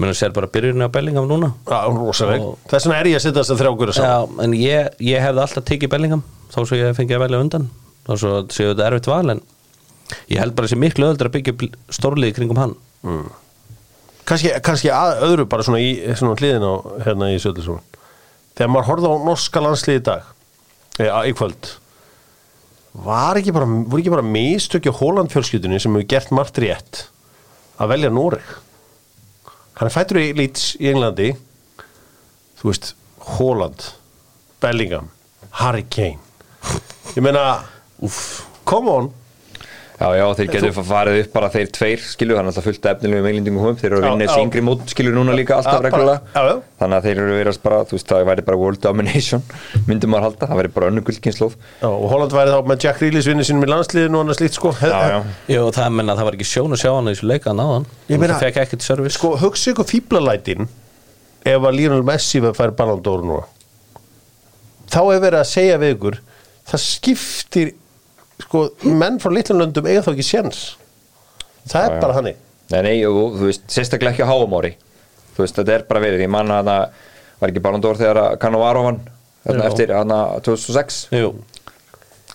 mér sér bara byrjunni á Bellingham núna Já, rosaleg. Og- Þess vegna er ég að setja þess að þrjákur saman. Já, en ég, ég hefði alltaf tekið Bellingham þá svo ég fengið að velja undan þá svo séu þetta erfitt val en ég held bara þessi miklu öðuldur að byggja bl- stórliði kringum hann Kanski, kannski að, öðru bara svona í svona hliðin á hérna í Söldurssonum. Þegar maður horfði á norska landslið í dag, eða í kvöld, var ekki bara, voru ekki bara mistökja Hóland fjölskyldunni sem hefur gert margt rétt að velja Noreg. Hann er fættur í Leeds í Englandi, þú veist, Hóland, Bellingham, Harry Kane. Ég meina, uff, come on. Já, já, þeir getur farið upp bara þeir tveir skilur, þannig að fullt af efnilegu meilindingum hum þeir eru Já, að vinna já. þessi yngri mót skilur núna líka Já, alltaf bara- reglulega já, já. þannig að þeir eru verið bara, þú veist, það væri bara world domination, myndum maður halda, það væri bara önnu guldkynnslóð Já, og Holland væri þá með Jack Reelis vinnu sínum í landsliðinu og annars slíkt sko. Já, já, Jú, það menna það var ekki sjón að sjá hann í þessu leika hann áðan Ég meina- það fekk ekkert servis Sko, hugsa ykkur fíblalætin ef að Lionel Messi fær Ballon d'Or núna. Þá er verið að segja við ykkur, það skiptir, sko, menn frá litlunlöndum eiga þá ekki séns. Það er já. bara hannig. Nei, nei, og þú veist, sérstaklega ekki á háumári Þú veist, þetta er bara verið, ég manna hana var ekki Ballon d'Or þegar kannu var á hann Já. eftir hana 2006 Jú,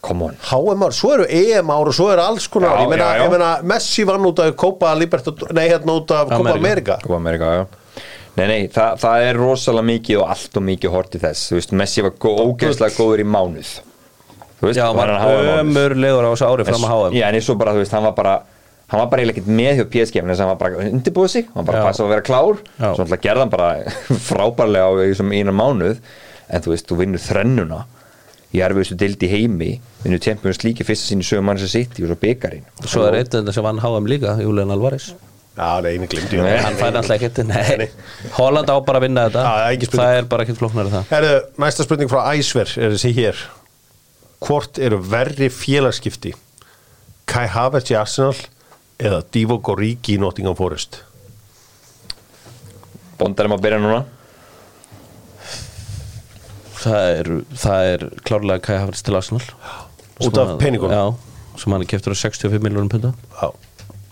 Come on HM ár, svo eru EM ár og svo eru alls konar. Já, ég, meina, já, já. ég meina, Messi vann út af Copa Libertad, nei, hérna út af Copa Amerika. America. Copa America, já Nei, nei, það, það er rosalega mikið og allt og mikið hortið þess Þú veist, Messi var gó, ógeðslega góður í mánuð Þú veist, já, hann hann háa var um, mánuð ömurlegur á þessu ári fram að háa Já, en eins og bara, þú veist, hann var bara hann var bara eiginlega ekkert með hjá PSG en þess að hann var bara undirbúið sig, hann bara Já. passaði að vera klár Já. svo náttúrulega gerði hann bara frábærlega á þessum einan mánuð en þú veist, þú vinnur þrennuna í erfiðustu deild í heimi vinnur Champions League í fyrsta sínu sögum manns að sitt og svo byggarinn Svo er eitt en sem vann háa líka, Julian Alvarez Já, nei, einu glimti. Nei. Hann fær alltaf ekkert, nei Holland á bara að vinna Já, já, þetta ekki spurning. Það er bara ekkert flóknar það Herðu, næsta spurning frá Æsver er þessi hér Hvort eru verri félagskipti Kai Havertz í Arsenal eða Divock Origi í Nottingham Forest Bondarum að byrja núna það er, það er klárlega Kai Havertz til Arsenal Út Sem af að- peningunum? Já, sem hann er keftur á 65 miljónum punta Já,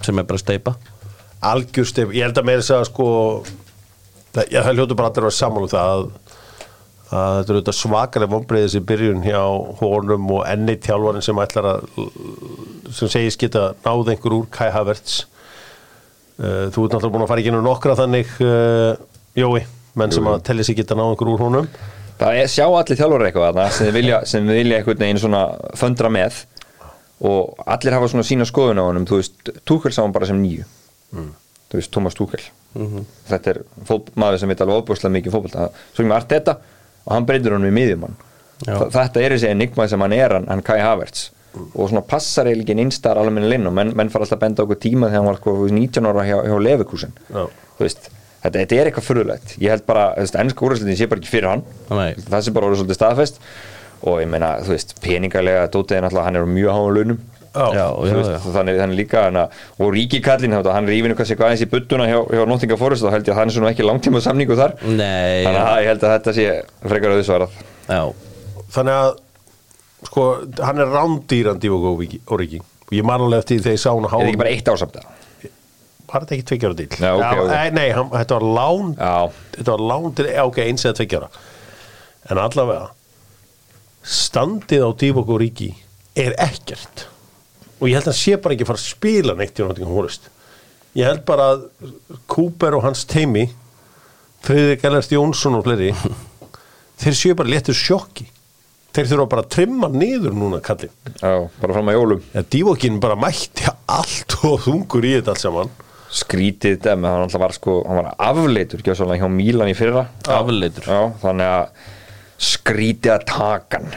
sem er bara steipa algjörst ef- ég held að meira þess að sko það, ég, það hljótu bara allir að vera saman um það að, að þetta eru auðvitað svakalega vonbreiðis í byrjun hjá honum og enni tjálvarinn sem ætlar að sem segist geta náð einhver úr Kai Havertz Uh, Þú ert náttúrulega búin að fara í genið nokkra þannig uh, Jói, menn sem Jú, jú. að telli sig geta náð einhver úr honum það er, sjá allir þjálfur eitthvað þarna sem þið vilja, sem þið vilja einhvern veginn svona föndra með og allir hafa svona sína skoðun á honum þú veist, Túkel sá hann bara sem nýju þú veist, Thomas Túkel þetta er fót, maður sem veit alveg ofbúrslega mikið um fótbolta, svo ekki með allt þetta og hann breytir honum í miðjumann Já. Þa- þetta er þessi enigma sem hann er hann, hann Kai Havertz og svona passar eiginlega einstar alveg minni linn og menn, menn fara alltaf að benda á okkur tíma þegar hann var sko, 19 ára hjá, hjá Leverkusen Já. þú veist, þetta, þetta er eitthvað fyrirlegt ég held bara, þú veist, ennska úrvæsliðin sé bara ekki fyrir hann Nei. það sé bara orðið svolítið staðfest og ég meina, þú veist, peningalega Dótið er náttúrulega, hann er á mjög háum launum Já. já, Þú já, veist, já. þannig, þannig líka hana, og Ríki Kallin, þetta, hann rífinu kannski eitthvað aðeins í buttuna hjá, hjá Nottinga Forest og held ég að hann er svona ekki langtíma samningu þar Nei, þannig já, að ég held að þetta sé frekar auðsvarað já, Þannig að sko, hann er rándýran Divock Origi Origi. og ég man alveg eftir því þegar ég sá hann á er háum ekki bara eitt ásamt það var þetta ekki tveikjara dýl Já, ok, ok. eh, Nei, hann, þetta var lán já, þetta var lán til, já, ok, eins eða tveikjara en allavega standið á Divock Origi er ekkert og ég held að hann sé bara ekki að fara að spila neitt í Nottingham Forest ég held bara að Cooper og hans teimi Friðrik Ellert Jónsson og fleiri þeir séu bara léttur sjokki þeir þurfa bara að trimma niður núna kallinn já, bara fram að jólum Já, Divokin bara mætti allt og þungur í þetta allt saman skrítið þetta með hann alltaf var sko hann var afleitur, ekki hjá Mílan í fyrra afleitur já, þannig að skrítið að takan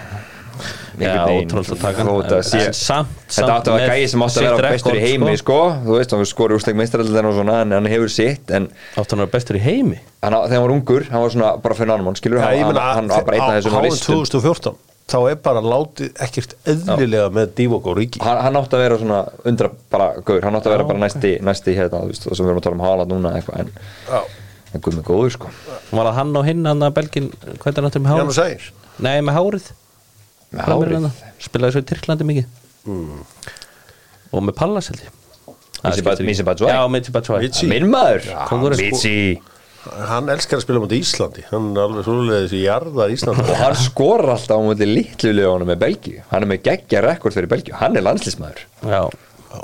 Já, ótrúlegt að taka hann. Þótt að sé- En samt- samt þetta áttu að með gæja sem áttu sitt að vera bestur í rekord, heimi sko. þú veist, hann skori úrsleik meistaraldin og svona en hann hefur sitt, en Átt hann að vera bestur í heimi hann, á- þegar hann var ungur, hann var svona bara fyrir nánumann, skilur, Já, hann, ég hann, meina, hann var bara einn af á- þessum á ristum 2014 þá er bara látið ekkert eðlilega með Divok og Ríki hann, hann átti að vera svona undra bara gaur, hann átti að vera bara næsti, næsti hérna, þú veist, og sem við erum að tala um hala núna eitthvað, en, en guð með góður sko Var það hann og hinn, hann að Belgin Hvernig er náttúrulega með Ján og hárið? Sægir Nei, með hárið Með Framir hárið. hérna. spilaði svo í Tyrklandi mikið og með Pallas held ég Það Mitsi skiptir Bat- ekki. Mitsi Batshuayi? já, Mitsi Batshuayi Mitsi. Sí. Minn maður Kóngurinn sko- Vitsi Hann elskar að spila mútið Íslandi Hann er alveg svoleiðið þessi jarðar Íslandi Og hann skorar alltaf á múti litlu lögunum með Belgíu Hann er með geggja rekord fyrir Belgíu Hann er landslísmaður já, Já,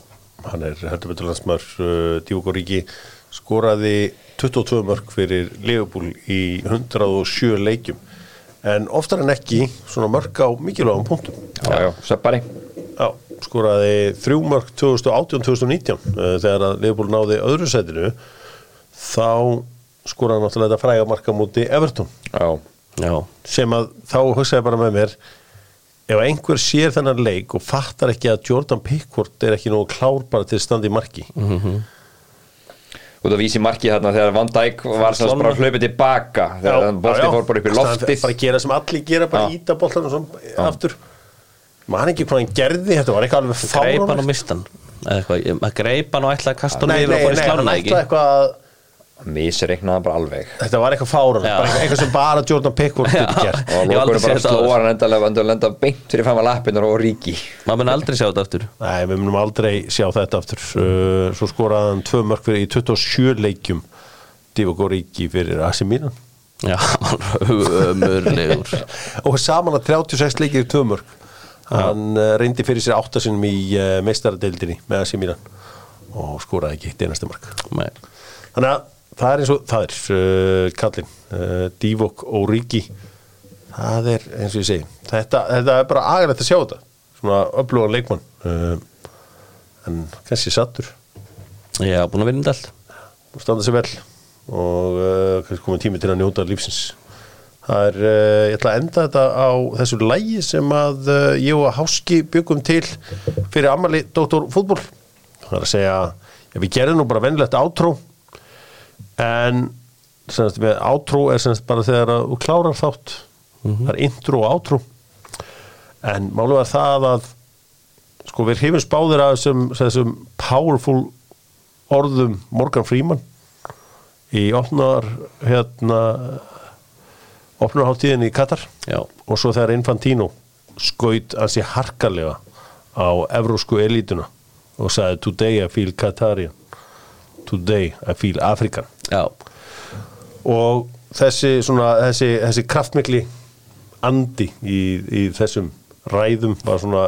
Hann er heldur betur landsmaður uh, Dífok og Ríki skoraði 22 mörg fyrir Leopold í 107 leikjum en oftar en ekki svona mörg á mikilvægum punktum Já, já, sveppari Já, skoraði þrjú mörg 2018-2019 eh, þegar að Leopold náði öðru sætinu þá skoraði náttúrulega þetta fræga marka múti Everton Já, já, sem að þá hugsaði bara með mér ef einhver sér þennan leik og fattar ekki að Jordan Pickford er ekki nógu klár bara til að standa í marki Mhm. út af vísi markið þarna þegar Van Dijk var sem sagt bara hlaupið tilbaka þegar hann bolti fór bara upp í Staðan loftið bara gera sem allir gera, bara Já. íta boltanum svona aftur man ekki hvað hann gerði, þetta var eitthvað alveg greip hann og fáránlegt. mistan maður greip hann og ætlaði að kasta hann Nei, yfir nei, og bara nei, hann slána ekki ætlaði eitthvað að Mísreiknaði bara alveg Þetta var eitthvað fáránlegt, Já. bara eitthvað- eitthvað sem bara Jordan Pickford getur gert Ég Og hef aldrei lókurinn séð bara þetta slóar hann endalega Endalega lenda beint fyrir fama lappinnar og ríki maður mun aldrei sjá þetta aftur Nei, við munum aldrei sjá þetta aftur Uh, Svo skoraði hann tvö mörg fyrir í 27 leikjum Divogo Ríki fyrir AC Milan já, hann var ömurlegur og saman að 36 leikir í tvö mörg Hann uh, reyndi fyrir sér áttasinum í uh, meistaradeildinni með AC Milan og skoraði ekki eitt einasta mörg Nei. Þannig að það er eins og það er uh, kallinn, uh, Divok og Ríki það er eins og ég segi þetta, þetta er bara agalegt að sjá þetta svona upplúan leikmann uh, en kannski sattur já, búin að vinna þetta allt og standa sér vel og uh, kannski komið tími til að njóta lífsins það er, uh, ég ætla að enda þetta á þessu lægi sem að uh, ég og Háski byggum til fyrir ammali Dr. Fútbol það er að segja, já, við gerum nú bara venlegt átrú en semst, með átrú er semst bara þegar að þú klárar þátt það er intro og átrú en málum er það að sko við hefum spáðir að þessum, þessum powerful orðum Morgan Freeman í opnar hérna opnarháttíðin í Katar já, og svo þegar Infantino skaut að sé harkalega á evrósku elítuna og sagði today I feel Katarian today I feel African já, og þessi, svona, þessi, þessi kraftmikli andi í, í þessum ræðum var svona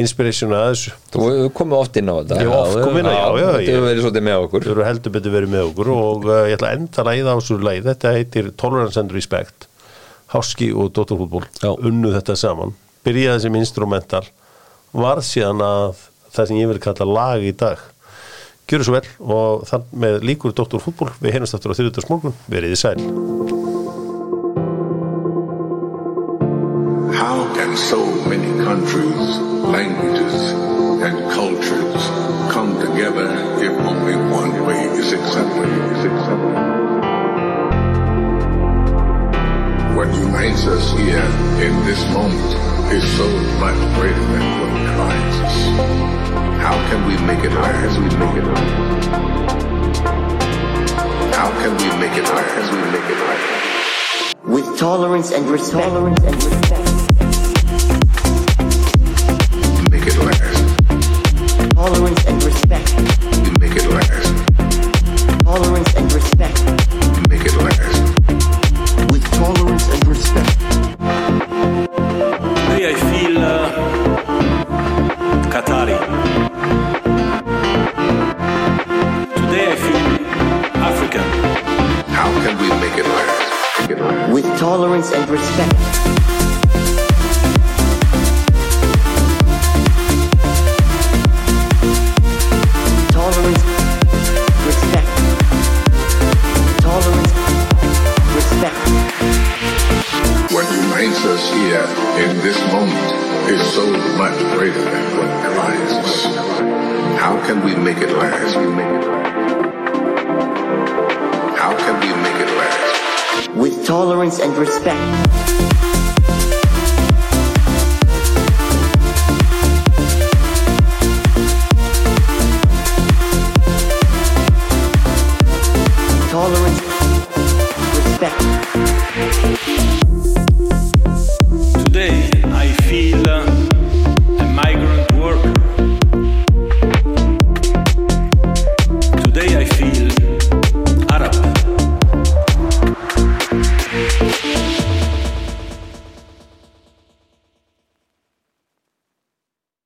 inspiration að þessu Þú hefur komið oft inn á þetta Ég hef oft komið inn á- já, já, Þú ég- hefur verið svolítið með okkur Þau eru heldur betur verið með okkur og uh, ég ætla að enda læða á þessu læð þetta heitir Tolerance and Respect Háski og Dóttarfútból Já. unnu þetta saman, byrjaði sem instrumental varð síðan að það sem ég vil kalla lag í dag gjöru svo vel og þar með líkur Dóttarfútból, við heyrjumst aftur á þriðutarsmorgun verið í sæl How can so many countries, languages, and cultures come together if only one way is accepted? Is accepted? What unites us here in this moment is so much greater than what divides us. How can we make it higher as we make it higher? How can we make it higher as we make it higher? with tolerance and respect. Tolerance and respect. Make it last. Tolerance and respect. You make it last. Tolerance and respect. You make it last. With tolerance and respect. Today I feel uh, Qatari. Today I feel African. How can we make it last? Make it last. With tolerance and respect. Tolerance. Respect. Tolerance. Respect. What unites us here in this moment is so much greater than what divides us. How can we make it last? We make it last. How can we make it last? With tolerance and respect.